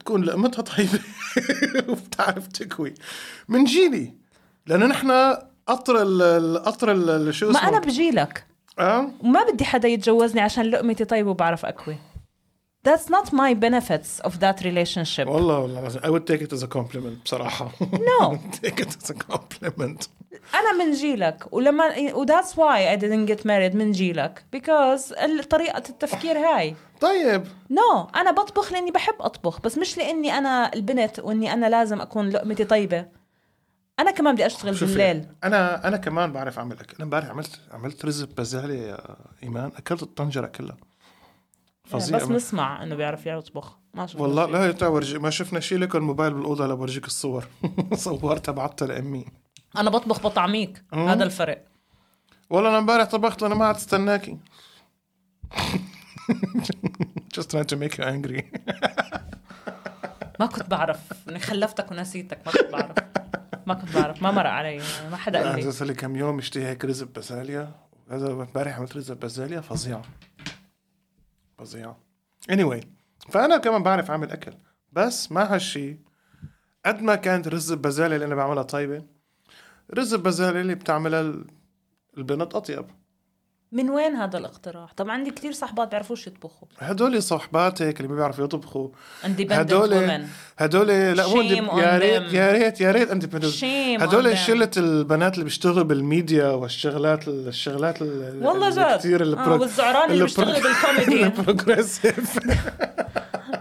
تكون لقمتها طيبه <laughs> وبتعرف تكوي من جيلي لانه نحن قطر ال- القطر ال- شو ما اسمه انا بجيلك اه وما بدي حدا يتجوزني عشان لقمتي طيبه وبعرف اكوي That's not my benefits of that relationship. والله والله العظيم I would take it as a compliment بصراحة No. <laughs> take it as a compliment انا من جيلك ولما وذاتس واي I didn't get married من جيلك because ال- طريقه التفكير هاي طيب نو no, انا بطبخ لاني بحب اطبخ بس مش لاني انا البنت واني انا لازم اكون لقمتي طيبه انا كمان بدي اشتغل شوفي، بالليل أنا أنا كمان بعرف أعمل أكل أنا امبارح عملت عملت رز ببزالة يا إيمان أكلت الطنجرة كلها بس فظيع نسمع انه بيعرف يطبخ ما شفنا والله شيء. لا تورجي ما شفنا شيء لك الموبايل بالأوضة لا بورجيك الصور <laughs> صورتها بعتها لأمي انا بطبخ بطعميك هذا الفرق والله أنا امبارح طبخت وأنا ما عاد استناكي <laughs> just trying to make you angry ما كنت بعرف اني خلفتك ونسيتك ما كنت بعرف ما كنت بعرف ما مر علي ما حدا قال أنا لي صار لي كم يوم اشتهي هيك رز ببازاليا هذا امبارح عملت رز ببازاليا فظيعة فظيعة anyway فأنا كمان بعرف أعمل أكل بس ما هالشي قد ما كانت رز البازاليا اللي أنا بعملها طيبة رز البازاليا اللي بتعملها ال- البنت أطيب من وين هذا الاقتراح طب عندي كتير صحبات بيعرفوش يطبخوا هدول صحباتك اللي ما بيعرفوا يطبخوا اندبندنت هدول هدول لا مو Shame indep- on يا ريت them. يا ريت يا ريت independent. Shame on هدول them. شله البنات اللي بيشتغلوا بالميديا والشغلات ال- الشغلات ال- والله اللي جد كثير آه والزعران اللي بيشتغلوا <laughs> بالكوميدي <laughs> البروجريسيف <laughs>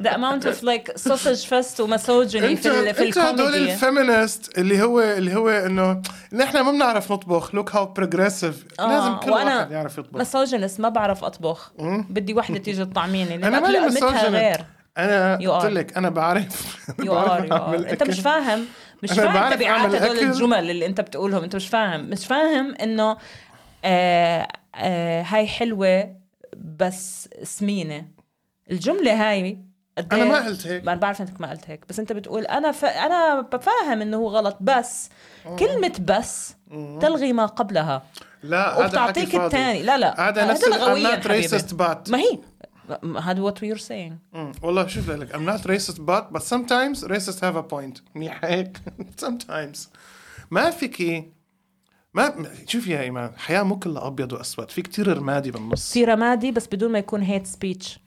ذا اماونت اوف لايك سوسج فيست ومسوجني انت في ال- في انت هدول الكوميدي الفيمينست اللي هو اللي هو انه نحن ما بنعرف نطبخ لوك هاو بروجريسيف آه، لازم كل وأنا واحد يعرف يطبخ مسوجنس ما بعرف اطبخ بدي وحده تيجي تطعميني انا مالي لقمتها مسوجنت غير انا You قلت are. لك انا بعرف <laughs> يو ار بعرف يو أعمل ار انت أكل. مش فاهم مش أنا فاهم بعرف تبعات أعمل هدول أكل. الجمل اللي انت بتقولهم انت مش فاهم مش فاهم انه آه آه هاي حلوه بس سمينه الجمله هاي قد انا إيه- ما قلت هيك ما انا بعرف انك ما قلت هيك بس انت بتقول انا ف... انا بفهم انه هو غلط بس كلمه بس تلغي ما قبلها لا هذا حكي وبتعطيك فاضي الثاني لا لا هذا نفس ال- I'm لغوياً not racist حبيبي. but ما هي ما- هذا وات وي سينج مم. والله شوف لك I'm not racist but but sometimes racists have a point منيح هيك <laughs> sometimes ما فيكي ما ما- شوفي يا ايمان الحياه مو كلها ابيض واسود في كتير رمادي بالنص في رمادي بس بدون ما يكون هيت سبيتش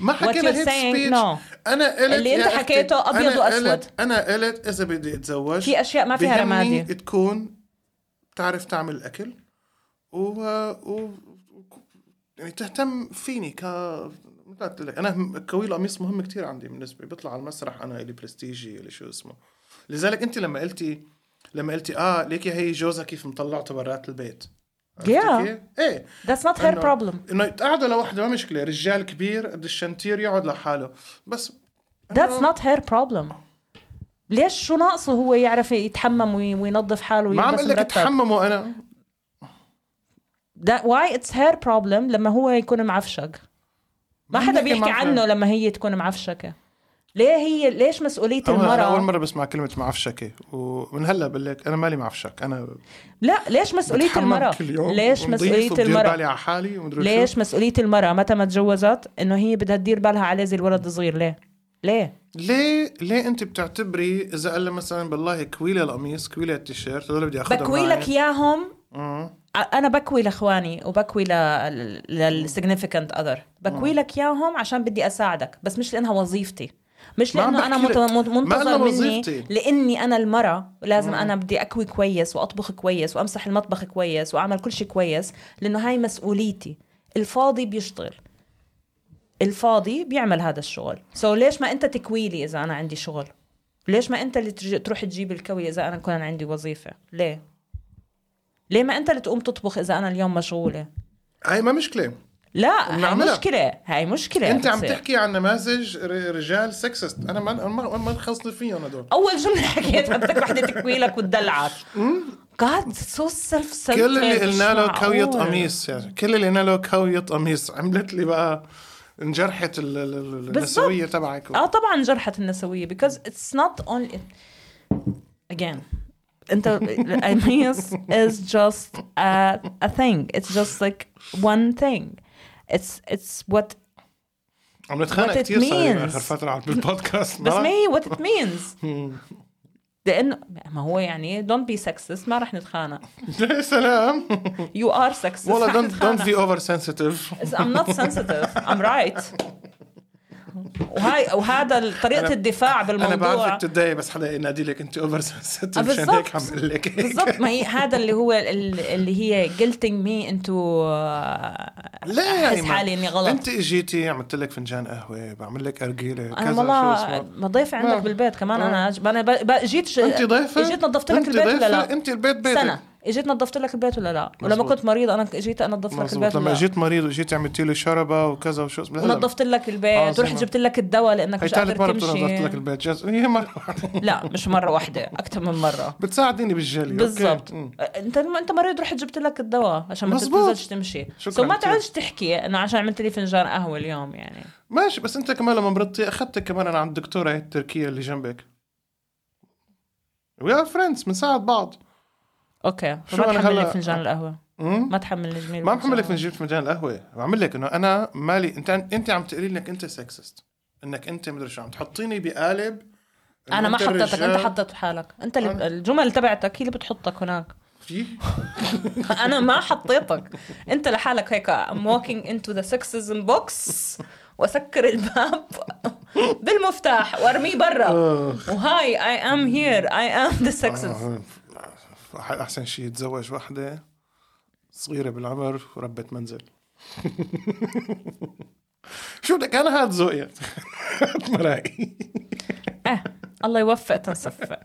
ما حكينا you're هيت saying, سبيتش no. انا قلت اللي أنت يا أختي، حكيته أبيض أنا وأسود. قلت- انا قلت اذا بدي اتزوج في أشياء ما فيها بهمني رمادي. تكون تعرف تعمل اكل و, و... يعني تهتم فيني ك مثل ما قلت لك انا هم- كوي القميص مهم كتير عندي بالنسبه لي بطلع على المسرح انا الي برستيجي الي شو اسمه لذلك انت لما قلتي لما قلتي اه ليكي هي جوزها كيف مطلعته برات البيت عرفتي Yeah. كيف؟ ايه ذاتس نوت هير إنه- بروبلم انه يتقعدوا لوحده ما مشكله رجال كبير قد الشنتير يقعد لحاله بس ذاتس نوت هير بروبلم ليش شو ناقصه هو يعرف يتحمم وي- وينظف حاله ما عم ويلبس اقول لك مرتب؟ تحمموا انا that why it's her problem لما هو يكون معفشق ما ما حدا بنحكي بيحكي معفشق. عنه لما هي تكون معفشكة ليه هي ليش مسؤولية أنا أنا اول المرأة مره بسمع كلمه معفشكه ومن هلا بقول لك انا مالي معفشك انا لا ليش مسؤولية بتحمم المرأة كل يوم ليش ونضيف مسؤولية وبدير المرأة بالي على حالي ومدري ليش شو. مسؤولية المرأة متى ما تجوزت انه هي بدها تدير بالها على زي الولد الصغير ليه ليه ليه ليه انت بتعتبري اذا قال لها مثلا بالله كويله القميص كويله التيشيرت هذول بدي اخذهم بكوي لك معي. اياهم مم. ع- انا بكوي لاخواني وبكوي لل- للسيغنيفيكانت اذر آه. بكوي لك اياهم عشان بدي اساعدك بس مش لانها وظيفتي مش ما عم لانه انا بحكي مت- لك. مت- ما أنا منتظر مني وظيفتي. آه. لاني انا المراه لازم انا بدي اكوي كويس واطبخ كويس وامسح المطبخ كويس واعمل كل شيء كويس لانه هاي مسؤوليتي الفاضي بيشتغل الفاضي بيعمل هذا الشغل سو so ليش ما انت تكوي لي اذا انا عندي شغل ليش ما انت اللي ترج- تروح تجيب الكوي اذا انا كان عندي وظيفه ليه ليه ما انت اللي تقوم تطبخ اذا انا اليوم مشغوله هاي ما مشكله لا هاي بنعملها. مشكله هاي مشكله انت عم بتصير. تحكي عن نماذج ر- رجال سكسست انا ما ما ما انخصني فيهم هدول اول جمله حكيتها بدك وحده تكوي لك وتدلعك God سو سيلف سنترد كل اللي قلنا له كوية قميص يعني كل اللي قلنا له كوية قميص عملت لي بقى انجرحت ال- ال- ال- النسوية تبعك اه طبعا جرحت النسويه because it's not only again انت <laughs> القميص is just a, a thing it's just like one thing it's it's what عم نتخانق what it كثير صار means. اخر فترة على البودكاست بس ما- ما هي what it <laughs> means لانه ما هو يعني don't be sexist ما رح نتخانق <laughs> يا سلام you are sexist والله رح دونت دونت نتخانق. بي اوفر سنسيتيف Is- I'm not sensitive I'm right وهاي وهذا ال- طريقة أنا- الدفاع انا بالموضوع بعرفك تتضايق بس حدا ينادي لك انت اوفر سنسيتيف آه، عشان هيك عم بالضبط. اقول لك هيك. بالضبط ما هي هذا اللي هو ال- اللي هي guilting me into uh, <laughs> لا يا أحس إيمان. حالي إني غلط. انت اجيتي عملت لك فنجان قهوه بعمل لك ارجيله كذا انا شو آه، والله اسمه ما ضيفة ما- عندك بالبيت كمان انا ج- انا ب- ب- اجيت ش- انت ضيفه اجيت نظفت لك أنت آه، البيت ولا ضيفة؟ لا انت البيت بيتك استنى اجيت نظفت لك البيت ولا لا ولما مزبوط. كنت مريض انا اجيت انظف لك مظبوط البيت لما ولا لا جيت مريض وجيت عملت له شربه وكذا وشو اسمه لا، لا. ونظفت لك آه، البيت زي ورحت ما- جبت لك الدواء لانك هي مش ثالث قادر مرة بتنظف لك تمشي البيت جاز هي مرة واحدة. <laughs> لا مش مرة واحدة اكثر من مرة بتساعديني بالجلي أوكي. بالضبط مم. انت انت مريض رحت جبت لك الدواء عشان ما مزبوط. تنزلش تمشي شكراً سو ما كتير. تقعدش تحكي انه عشان عملت لي فنجان قهوه اليوم يعني ماشي بس انت كمان لما مرضتي اخذتك كمان انا عند الدكتورة هي التركية اللي جنبك وي ار فريندز بنساعد بعض اوكي شو شو ما أنا تحمل لي هلا- فنجان القهوه مم؟ ما تحمل لي جميل ما عم حمل لك فنجان فنجان القهوة بعمل لك انه انا مالي انت انت عم تقولي انك انت سكسست انك انت مدري شو عم تحطيني بقالب إنه انا ما أنت حطيتك انت الرجال- حطيت حالك انت أنا- اللي الجمل تبعتك هي اللي بتحطك هناك في انا ما حطيتك انت لحالك هيك I'm walking into the sexism box واسكر الباب بالمفتاح وارميه برا وهاي I am here I am the sexist آه، احسن شيء يتزوج وحده صغيره بالعمر وربة منزل <laughs> شو بدك انا هاد ذوقي <laughs> مراي اه الله يوفق تنصفق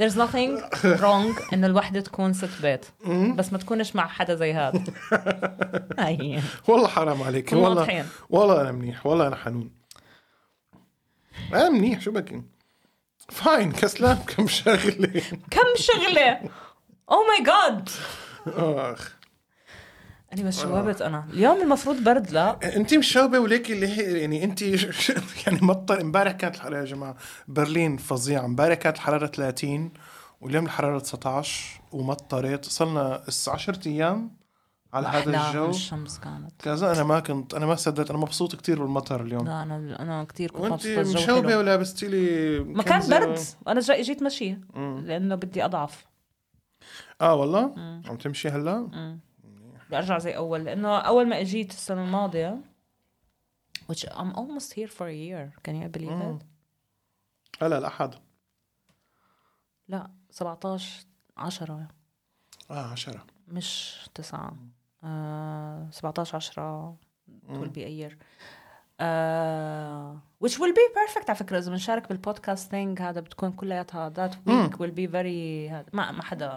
There's nothing wrong انه الوحدة تكون ست بيت بس ما تكونش مع حدا زي هذا هاي هي. والله حرام عليك كنا والله واضحين. والله انا منيح والله انا حنون انا منيح شو بكي فاين كسلان <laughs> كم شغله Oh كم شغلة او ماي جاد اخ انا بس شوبت انا اليوم المفروض برد لا انت مشوبه وليك اللي هي يعني انت <laughs> يعني مطر امبارح كانت الحراره يا جماعه برلين فظيعه امبارح كانت الحراره 30 واليوم الحراره 19 ومطرت صرنا اس 10 ايام على هذا أحلى من الجو الشمس كانت كذا انا ما كنت انا ما صدقت انا مبسوط كتير بالمطر اليوم لا انا انا كثير كنت وانت مبسوطه الجو مشوبه حلو ولابستي لي ما كان كنزة. برد انا جاي جيت مشي لانه بدي اضعف اه والله عم تمشي هلا بدي ارجع زي اول لانه اول ما اجيت السنه الماضيه which I'm almost here for a year can you believe it هلا الاحد لا 17 10 اه 10 مش 9 آه 17 10 it will be a year آه which will be perfect على فكره اذا بنشارك بالبودكاست thing هذا بتكون كلياتها that week will be very هذا ما ما حدا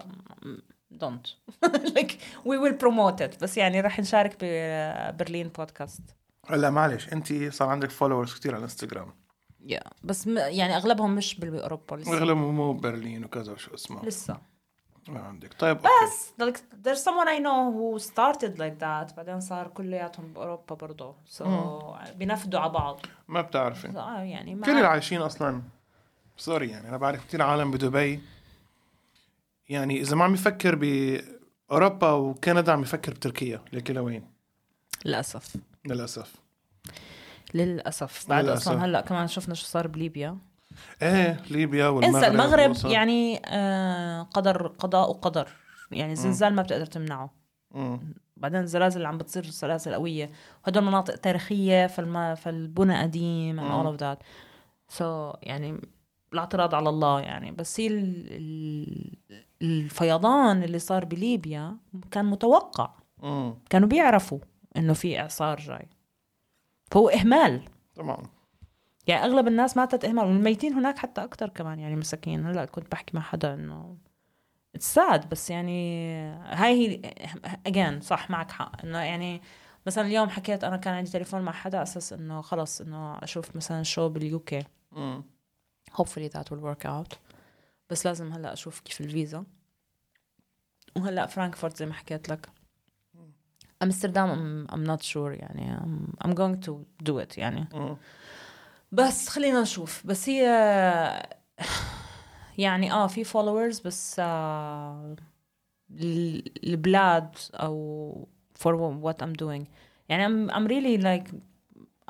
don't <laughs> like we will promote it بس يعني رح نشارك آه، ببرلين بودكاست هلا معلش انت صار عندك فولورز كتير على الانستغرام يا بس م... يعني اغلبهم مش باوروبا لسه اغلبهم مو برلين وكذا وشو اسمه لسه ما عندك طيب بس بس like there's someone I know who started like that بعدين صار كلياتهم باوروبا برضه so بينفذوا على بعض ما بتعرفي so, آه يعني كل اللي ما عايشين اصلا سوري يعني انا بعرف كثير عالم بدبي يعني اذا ما عم يفكر باوروبا وكندا عم يفكر بتركيا لكن لوين للاسف للاسف للاسف بعد للأسف. اصلا هلا كمان شفنا شو صار بليبيا ايه ليبيا والمغرب انسى المغرب وصل- يعني آه قدر قضاء وقدر يعني الزلزال ما بتقدر تمنعه مم. بعدين الزلازل اللي عم بتصير زلازل قويه هدول مناطق تاريخيه فالما فالبنى قديم and all of that so يعني الاعتراض على الله يعني بس هي ال- ال- الفيضان اللي صار بليبيا كان متوقع مم. كانوا بيعرفوا انه في اعصار جاي فهو اهمال طبعا يعني اغلب الناس ماتت اهمال والميتين هناك حتى اكثر كمان يعني مساكين هلا كنت بحكي مع حدا انه ساد بس يعني هاي هي اجين صح معك حق انه يعني مثلا اليوم حكيت انا كان عندي تليفون مع حدا على اساس انه خلص انه اشوف مثلا شو باليو كي مم. hopefully that will work out بس لازم هلا اشوف كيف الفيزا وهلا فرانكفورت زي ما حكيت لك امستردام I'm, I'm not sure يعني I'm, I'm going to do it يعني مم. بس خلينا نشوف بس هي <sighs> يعني اه في followers بس آه ال- البلاد او for what I'm doing يعني I'm, I'm really like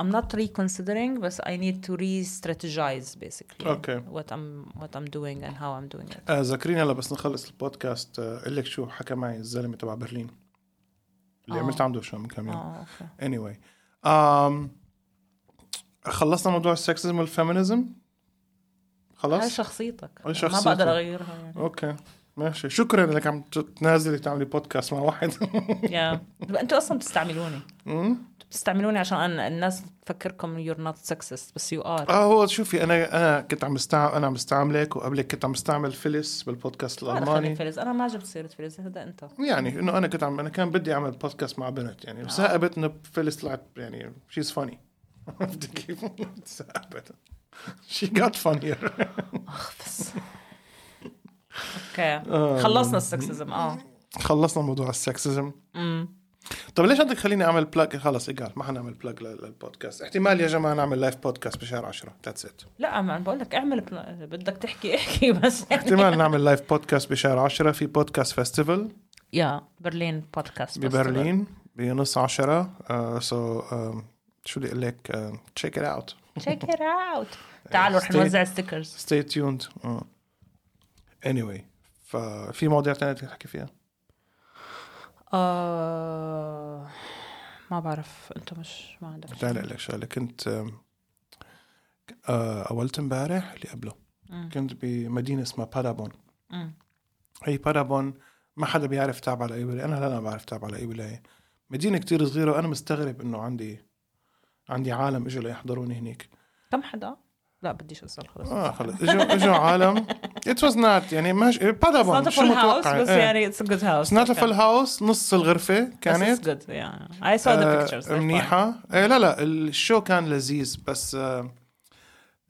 I'm not reconsidering بس I need to re-strategize basically اوكي what I'm what I'm doing and how I'm doing it آه ذكريني هلا بس نخلص البودكاست آه، اقول لك شو حكى معي الزلمه تبع برلين اللي آه. عملت عنده شو من كم يوم اه اوكي اني anyway. um, خلصنا موضوع السكسزم والفيمينزم هاي خلاص شخصيتك هاي ما شخصيتك. بقدر اغيرها يعني اوكي ماشي شكرا انك عم تنازلي تعملي بودكاست مع واحد <laughs> <laughs> يا طب انتوا اصلا بتستعملوني أمم. بتستعملوني عشان أنا الناس تفكركم يور نوت سكسست بس يو ار اه هو شوفي انا انا كنت عم بستعمل انا عم بستعملك وقبلك كنت عم بستعمل فيلس بالبودكاست الالماني فلز انا ما جبت سيره فلز هذا انت يعني انه انا كنت عم انا كان بدي اعمل بودكاست مع بنت يعني بس ثاقبت انه فيلس طلعت يعني شيز <laughs> فاني عرفتي كيف؟ ثاقبت شي جات فانير اخ بس اوكي آه. خلصنا السكسزم اه خلصنا موضوع السكسزم أمم. طب ليش بدك خليني اعمل بلاج خلص ايقال ما حنعمل بلاج للبودكاست احتمال يا جماعه نعمل لايف بودكاست بشهر 10 ذاتس ات لا ما انا بقول لك اعمل بلا- بدك تحكي احكي بس يعني. احتمال نعمل لايف بودكاست بشهر 10 في بودكاست فيستيفال يا برلين بودكاست بس ببرلين بنص 10 سو um, شو بدي اقول لك Um, تشيك ات اوت تشيك ات اوت <laughs> تعالوا رح Stay- نوزع ستيكرز ستي تيوند اني واي ففي مواضيع ثانيه بدك تحكي فيها آه ما بعرف انت مش ما عندك بدي اقول لك شغله كنت آم، آه، اولت امبارح اللي قبله كنت بمدينه اسمها بارابون أمم. هي بارابون ما حدا بيعرف تابع على اي ولايه انا هلا ما بعرف تابع على اي ولايه مدينه كتير صغيره وانا مستغرب انه عندي عندي عالم اجوا ليحضروني هنيك كم حدا؟ لا بديش اسال خلص اه خلص اجوا اجوا عالم ات واز نوت يعني مش بارابون It's not a شو full house متوقع إيه. بس يعني it's a good house. اتس نوت فل هاوس نص الغرفه It's كانت good yeah. I saw the آه، pictures. they're منيحه آه لا لا الشو كان لذيذ بس آه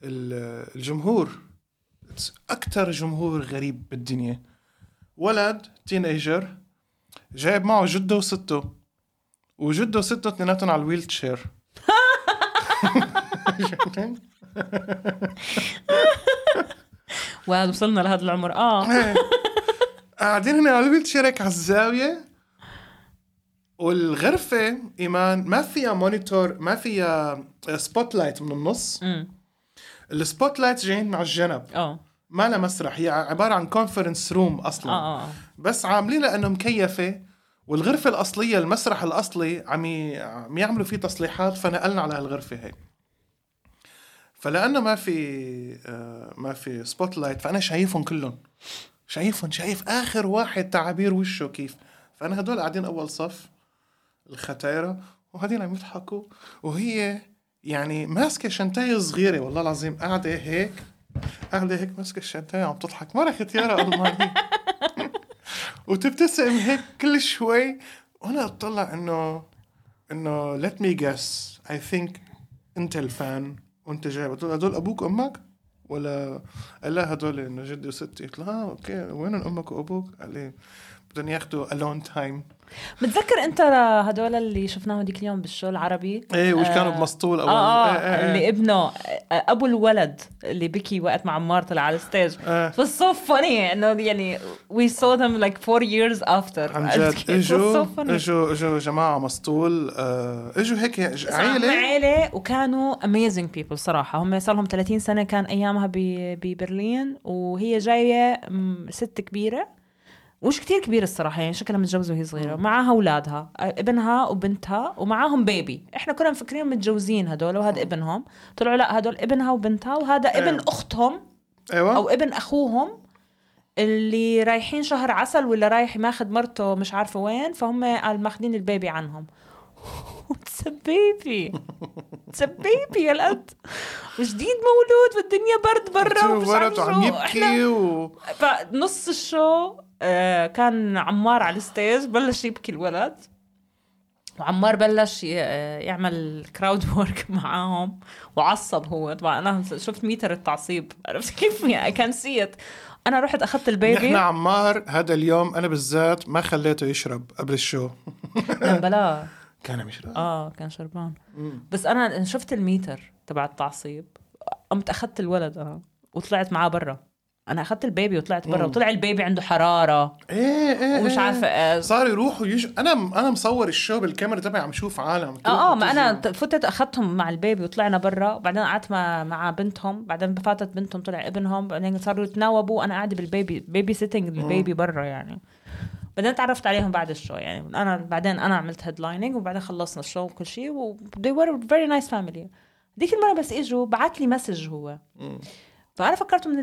ال- الجمهور اكثر جمهور غريب بالدنيا ولد تينيجر جايب معه جده وسته وجده سته اثنيناتهم على الويل <laughs> تشير <laughs> وهذا وصلنا لهذا العمر آه. اه قاعدين هنا على الويل تشير هيك على الزاويه والغرفه ايمان ما فيها مونيتور ما فيها سبوت لايت من النص أمم. السبوت لايت جايين على الجنب اه ما لها مسرح هي عباره عن كونفرنس روم اه اصلا اه آه. بس عاملينها انه مكيفه والغرفه الاصليه المسرح الاصلي عم ي- عم يعملوا فيه تصليحات فنقلنا على هالغرفه هي فلانه ما في آه، ما في سبوت لايت فانا شايفهم كلهم شايفهم شايف اخر واحد تعابير وشه كيف فانا هدول قاعدين اول صف الختايره وهدول عم يضحكوا وهي يعني ماسكه شنتايه صغيره والله العظيم قاعده هيك قاعده هيك ماسكه الشنتايه عم تضحك مره ختياره المانيه وتبتسم هيك كل شوي وانا اطلع انه انه let me guess I think انت الفان وانت جاي قلت له هدول ابوك وامك ولا قال لا هدول انه جدي وستي قلت له اه اوكي وين امك وابوك؟ قال لي بدهم ياخذوا الون تايم بتذكر انت هدول اللي شفناهم ديك اليوم بالشو العربي ايه وش كانوا آه. بمسطول اه اول اه إيه، إيه، اللي إيه. ابنه آه، ابو الولد اللي بكي وقت ما عمار طلع على الستيج آه. It was so funny انه يعني we saw them like four years after عن عرفت جد كيف؟ <laughs> It was اجوا so funny. اجوا اجوا جماعه مسطول آه، اجوا هيك عيله عيلة وكانوا amazing people صراحة هم صار لهم 30 سنة كان أيامها ب- ببرلين وهي جاية م، ست كبيرة ومش كتير كبيرة الصراحة يعني شكلها متجوزة وهي صغيرة معاها أولادها ابنها وبنتها ومعاهم بيبي احنا كنا مفكرين متجوزين هدول وهذا ابنهم طلعوا لا هدول ابنها وبنتها وهذا ابن إيه. أختهم ايوه أو ابن أخوهم اللي رايحين شهر عسل ولا رايح ماخذ مرته مش عارفة وين فهم قال ماخذين البيبي عنهم <laughs> It's a baby It's a baby يا الأد وجديد مولود والدنيا برد برا ومش ورد عارف وعم شو. إحنا- يبكي و فنص الشو آه، كان عمار على الستيج بلش يبكي الولد وعمار بلش ي- آه، يعمل كراود وورك <laughs> معاهم وعصب هو طبعا انا شفت ميتر التعصيب عرفت كيف <laughs> يعني كان سيت انا رحت اخذت نحن البيبي عمار هذا اليوم انا بالذات ما خليته يشرب قبل الشو لا، بلا كان عم يشرب اه كان شربان بس انا شفت الميتر تبع التعصيب قمت اخذت الولد انا وطلعت معاه برا انا اخذت البيبي وطلعت برا وطلع البيبي عنده حراره ايه ايه ومش إيه. عارفه آه، صار يروح ويجي انا انا مصور الشو بالكاميرا تبعي عم شوف عالم اه اه ما انا ت- فتت اخذتهم مع البيبي وطلعنا برا وبعدين قعدت مع مع بنتهم بعدين فاتت بنتهم طلع ابنهم بعدين صاروا يتناوبوا وانا قاعده بالبيبي بيبي سيتنج البيبي برا يعني بعدين تعرفت عليهم بعد الشو يعني انا بعدين انا عملت هيدلايننج وبعدين خلصنا الشو وكل شيء و they were a very nice family ديك المره بس اجوا بعت لي مسج هو فانا فكرته من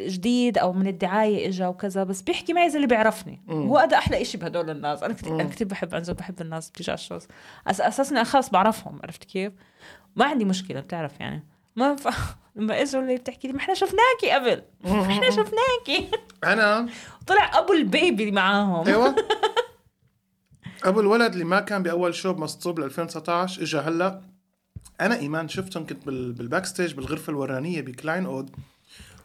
الجديد او من الدعايه اجا وكذا بس بيحكي معي زي اللي بيعرفني هو هذا احلى إشي بهدول الناس انا كثير انا كثير بحب انزل بحب الناس بتيجي على الشوز أس اساسا خلص بعرفهم عرفت كيف ما عندي مشكله بتعرف يعني ما ف... <laughs> لما اجوا اللي بتحكي لي ما احنا شفناكي قبل ما احنا شفناكي <laughs> انا طلع ابو البيبي معاهم <laughs> ايوه ابو الولد اللي ما كان باول شو بمسطوب ل 2019 اجى هلا انا ايمان شفتهم كنت بال- بالباك ستيج بالغرفه الورانيه بكلاين اود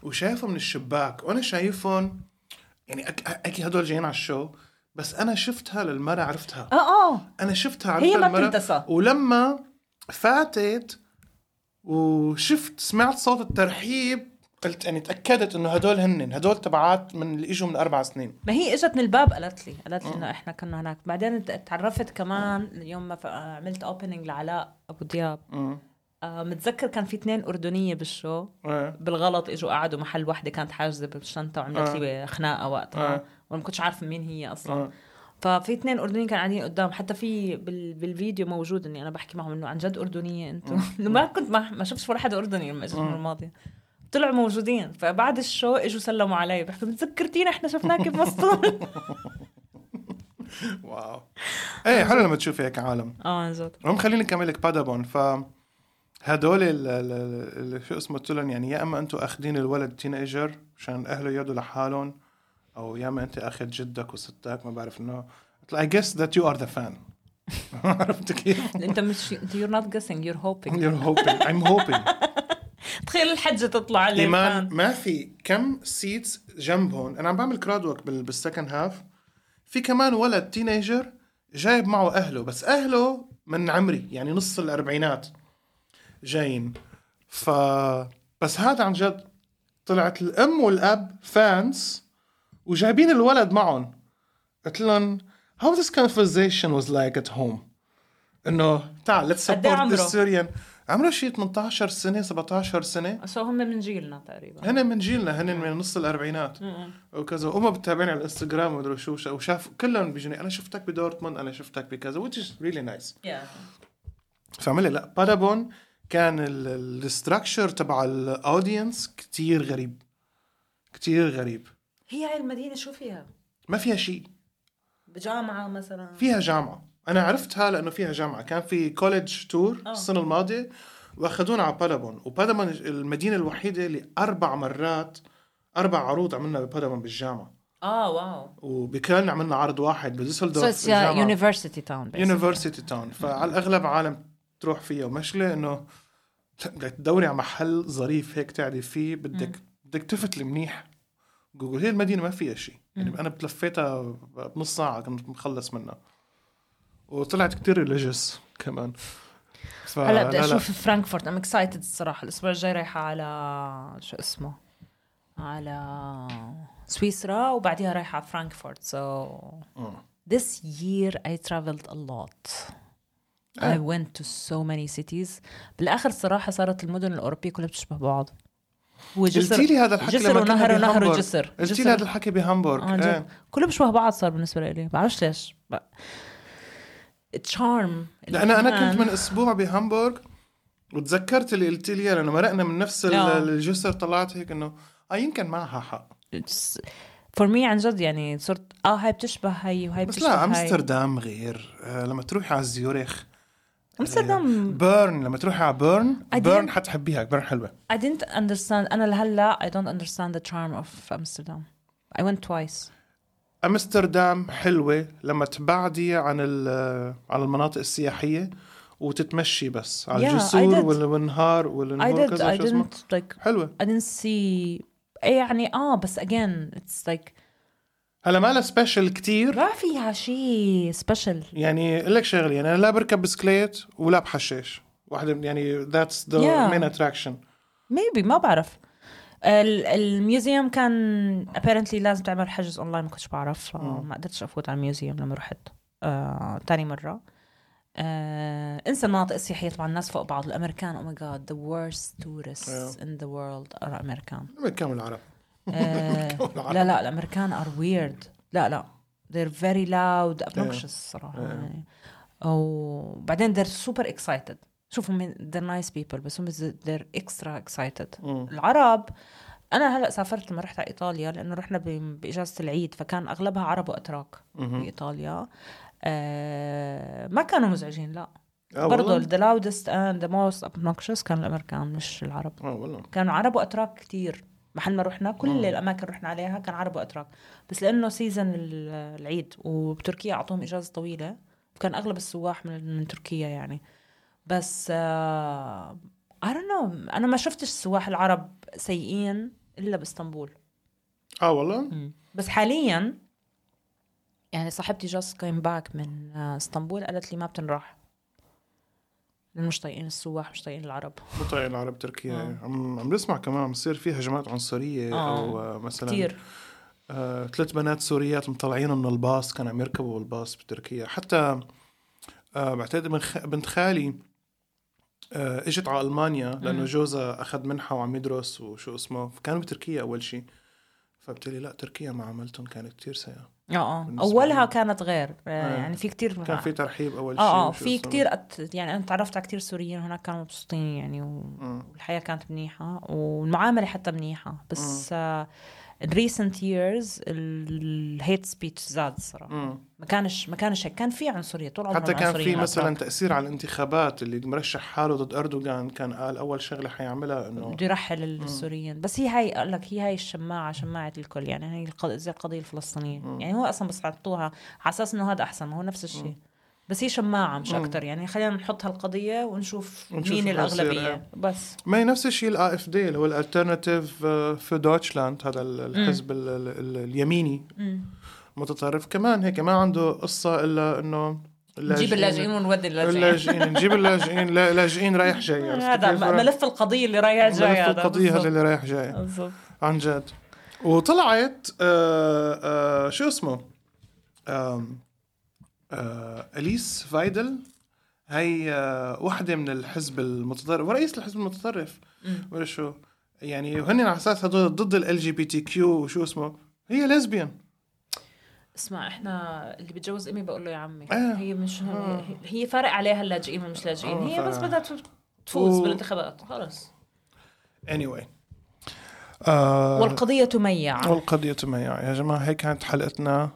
وشايفهم من الشباك وانا شايفهم يعني أك- اكيد هدول جايين على الشو بس انا شفتها للمره عرفتها اه اه انا شفتها هي عرفتها ما المرة- بتنتسى. ولما فاتت وشفت سمعت صوت الترحيب قلت يعني تاكدت انه هدول هنن هدول تبعات من اللي اجوا من اربع سنين ما هي اجت من الباب قالت لي قالت لي انه احنا كنا هناك بعدين ت- تعرفت كمان يوم ما ف- عملت اوبننج لعلاء ابو دياب آه متذكر كان في اثنين اردنيه بالشو إيه. بالغلط اجوا قعدوا محل وحده كانت حاجزه بالشنطه وعملت لي خناقه وقتها آه. وانا ما كنتش عارفه مين هي اصلا آه. ففي اثنين اردنيين كانوا قاعدين قدام حتى في بال... بالفيديو موجود اني انا بحكي معهم انه عن جد اردنيه انتم ما كنت ما, ما شفتش ولا حدا اردني لما اجت المره الماضيه طلعوا موجودين فبعد الشو اجوا سلموا علي بحكوا متذكرتينا احنا شفناك بمسطول واو ايه حلو لما تشوف هيك عالم اه عن جد المهم خليني اكمل لك بادابون ف هدول ال- ال- ال- ال- شو اسمه قلت لهم يعني يا اما انتم اخذين الولد تينيجر عشان اهله يقعدوا لحالهم او يا اما انت اخذ جدك وستك ما بعرف انه قلت له I guess that you are the fan <laughs> عرفت <laughs> كيف؟ انت مش انت يور نوت جيسنج يور <laughs> هوبينج You're hoping I'm hoping تخيل الحجه تطلع على ايمان الايمان ما في كم سيتس جنبهم انا عم بعمل كراود ورك بالسكند هاف في كمان ولد تينيجر جايب معه اهله بس اهله من عمري يعني نص الاربعينات جايين ف بس هذا عن جد طلعت الام والاب فانس وجايبين الولد معهم قلت لهم how this conversation was like at home انه تعال let's قد إيه support عمره؟ the Syrian عمره شي 18 سنه 17 سنه سو هم من جيلنا تقريبا هن من جيلنا هن من نص الاربعينات وكذا وامها بتتابعني على الانستغرام ومدري شو شو- وشاف كلهم بيجوني انا شفتك بدورتموند انا شفتك بكذا which is really nice فعملها لا بادابون كان الستراكشر تبع الاودينس كتير غريب كتير غريب هي هاي المدينه شو فيها؟ ما فيها شيء بجامعه مثلا فيها جامعه انا عرفتها لانه فيها جامعه كان في كوليدج تور آه. السنه الماضيه واخذونا على بادابون وبادابون المدينه الوحيده اللي اربع مرات اربع عروض عملنا ببادابون بالجامعه اه واو وبكلن عملنا عرض واحد بديسلدورف سو يونيفرسيتي تاون يونيفرسيتي تاون فعلى الاغلب عالم تروح فيها ومشكله انه بدك تدوري على محل ظريف هيك تقعدي فيه بدك بدك تفتلي منيح جوجل هي المدينه ما فيها شيء يعني انا بتلفيتها بنص ساعه كنت مخلص منها وطلعت كتير ريليجيوس كمان ف- هلا بدي لا، لا. اشوف فرانكفورت ام اكسايتد الصراحه الاسبوع الجاي رايحه على شو اسمه على سويسرا وبعديها رايحه على فرانكفورت سو so آه. this year I traveled a lot آه. I went to so many cities بالاخر صراحه صارت المدن الاوروبيه كلها بتشبه بعض قلتي لي هذا الحكي جسر لما كنا ونهر ونهر بهامبورغ. وجسر قلتي جسر. لي هذا الحكي بهامبورغ عن آه، جد. إيه. كله بشبه بعض صار بالنسبه لي بعرفش ليش ب... تشارم لان انا كنت من اسبوع بهامبورغ وتذكرت اللي قلت لي إياه، لانه مرقنا من نفس ال- آه. الجسر طلعت هيك انه اه يمكن معها حق فور مي عن جد يعني صرت اه هاي بتشبه هاي وهاي بس بتشبه لا هاي. امستردام غير آه، لما تروحي على زيوريخ امستردام بيرن لما تروحي على بيرن I didn't- بيرن حتحبيها بيرن حلوه I didn't understand انا لهلا I don't understand the charm of Amsterdam I went twice امستردام حلوه لما تبعدي عن ال- عن المناطق السياحيه وتتمشي بس على Yeah, I الجسور did. وال- والنهار I والنهار did كذا I شو اسمه didn't like حلوه I didn't see إيه يعني اه بس again it's like هلا ما لها سبيشل كتير ما فيها شيء سبيشل يعني اقول لك شغله يعني انا لا بركب بسكليت ولا بحشيش واحدة من- يعني ذاتس ذا Yeah. مين اتراكشن ميبي ما بعرف ال- الميوزيوم كان apparently لازم تعمل حجز اونلاين ما كنتش بعرف فما قدرتش افوت على الميوزيوم لما رحت آه، تاني مره آه، انسى المناطق السياحيه طبعا الناس فوق بعض oh الامريكان او ماي جاد ذا worst tourists Yeah. in the world are امريكان الامريكان والعرب لا لا الامريكان ار ويرد لا لا they're very loud obnoxious صراحه يعني وبعدين they're super excited شوفوا من they're nice people بس هم they're extra excited العرب انا هلا سافرت لما رحت على ايطاليا لانه رحنا ب- باجازه العيد فكان اغلبها عرب واتراك بايطاليا آه ما كانوا مزعجين لا آه، برضه والله؟ the loudest and the most obnoxious كانوا الامريكان مش العرب اه والله كانوا عرب واتراك كتير محل ما رحنا كل الاماكن رحنا عليها كان عرب واتراك بس لانه سيزن ال- العيد وبتركيا اعطوهم اجازه طويله كان اغلب السواح من, من تركيا يعني بس آه I don't know انا ما شفتش السواح العرب سيئين الا باسطنبول اه والله بس حاليا يعني صاحبتي جاست كايم باك من آه، اسطنبول قالت لي ما بتنراح لأنه مش طايقين السواح مش طايقين العرب مو طايق العرب تركيا عم عم بسمع كمان عم يصير في هجمات عنصريه آه. او آه، مثلا كتير آه، ثلاث بنات سوريات مطلعين من الباص كانوا عم يركبوا الباص بتركيا حتى آه، بعتقد من خ... بنت خالي آه، اجت على المانيا لانه جوزها اخذ منحه وعم يدرس وشو اسمه كانوا بتركيا اول شيء فبتقلي لا تركيا ما عملتهم كانت كتير سيئه اه اه بالنسبة اولها لي. كانت غير آه، يعني في كتير كان في ترحيب اول شيء اه اه وشو في اسمه. كتير أت... يعني انا تعرفت على كتير سوريين هناك كانوا مبسوطين يعني و... والحياه كانت منيحه والمعامله حتى منيحه بس آه الريسنت ييرز الهيت سبيتش زاد صراحه مم. ما كانش ما كانش هيك كان في عنصريه طول عمرهم حتى كان في عنصريين مثلا الأتراك. تاثير على الانتخابات اللي مرشح حاله ضد اردوغان كان قال اول شغله حيعملها انه بده يرحل السوريين بس هي هاي قال لك هي هاي الشماعه شماعه الكل يعني هي الق- زي القضيه الفلسطينيه يعني هو اصلا بس حطوها على اساس انه هذا احسن ما هو نفس الشيء بس هي شماعه مش اكثر يعني خلينا نحط هالقضيه ونشوف, ونشوف مين شو حيصير، الاغلبيه إيه. بس ما هي نفس الشيء الاي اف دي اللي هو آه، الالترناتيف في دويتشلاند هذا ال- الحزب ال- ال- ال- اليميني متطرف كمان هيك ما عنده قصه الا انه نجيب اللاجئين ونودي اللاجئين اللاجئين نجيب اللاجئين لا- لاجئين رايح جاي عرفت <laughs> هذا كيف؟ ملف القضية اللي رايح جاي ملف هذا القضيه هذا بالضبط. اللي رايح جاي بالضبط عن جد وطلعت آه آه شو اسمه آم، آه اليس فايدل هي آه واحدة من الحزب المتطرف ورئيس الحزب المتطرف مم. ولا شو يعني وهن على اساس هدول ضد ال جي بي تي كيو وشو اسمه هي ليزبيان اسمع احنا اللي بتجوز امي بقول له يا عمي آه. هي مش آه. هي- هي فارق عليها اللاجئين ومش لاجئين آه، هي فارق. بس بدها تفوز و- بالانتخابات خلص anyway آه والقضية تميع والقضية تميع يا جماعة هيك كانت حلقتنا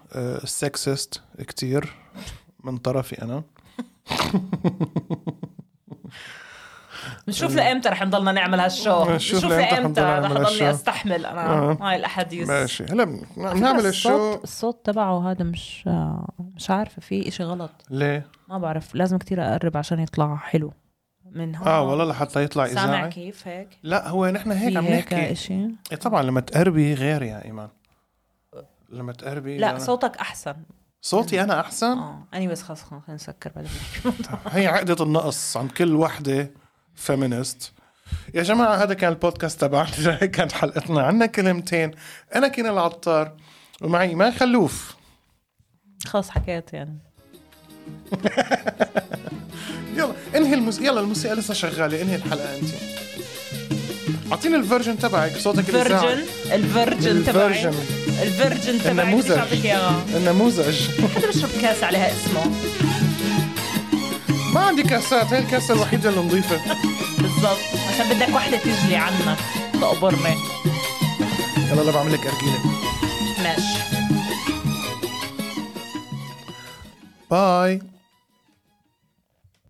سكسست كتير من طرفي أنا نشوف لأمتى رح نضلنا نعمل هالشو نشوف نشوف لأمتى رح لأمتى نضلنا رح نعمل ضلني هالشو. استحمل انا آه. هاي الاحاديث ماشي هلا بن- بنعمل الشو الصوت تبعه هذا مش مش عارفة في اشي غلط ليه؟ ما بعرف لازم كتير اقرب عشان يطلع حلو من هون اه والله لحتى يطلع سامع اذاعي كيف هيك لا هو نحن هيك آه. في عم هيك نحكي اشي إيه طبعا لما تقربي غير يا ايمان لما تقربي لا أنا- صوتك احسن صوتي انا احسن اه anyways خلص خلص خلينا نسكر بعدين هي عقده النقص عند كل وحده فيمينست يا جماعه هذا كان البودكاست تبعنا <laughs> هيك كانت حلقتنا عنا كلمتين انا كنا العطار ومعي ايمان خلوف خلص حكيت يعني يلا انهي المس... يلا الموسيقى لسه شغاله انهي الحلقه انت اعطيني الفيرجن تبعك صوتك الإذاعي. فيرجن الفيرجن تبعي الفيرجن. الفيرجن تبعي بدي النموذج. اعطيك اياها النموذج حدا بشرب كاس عليها اسمه ما عندي كاسات هي الكاسه الوحيده اللي نظيفه بالضبط عشان بدك وحده تجلي عنك تقبرني يلا انا بعمل لك ارجيله ماشي باي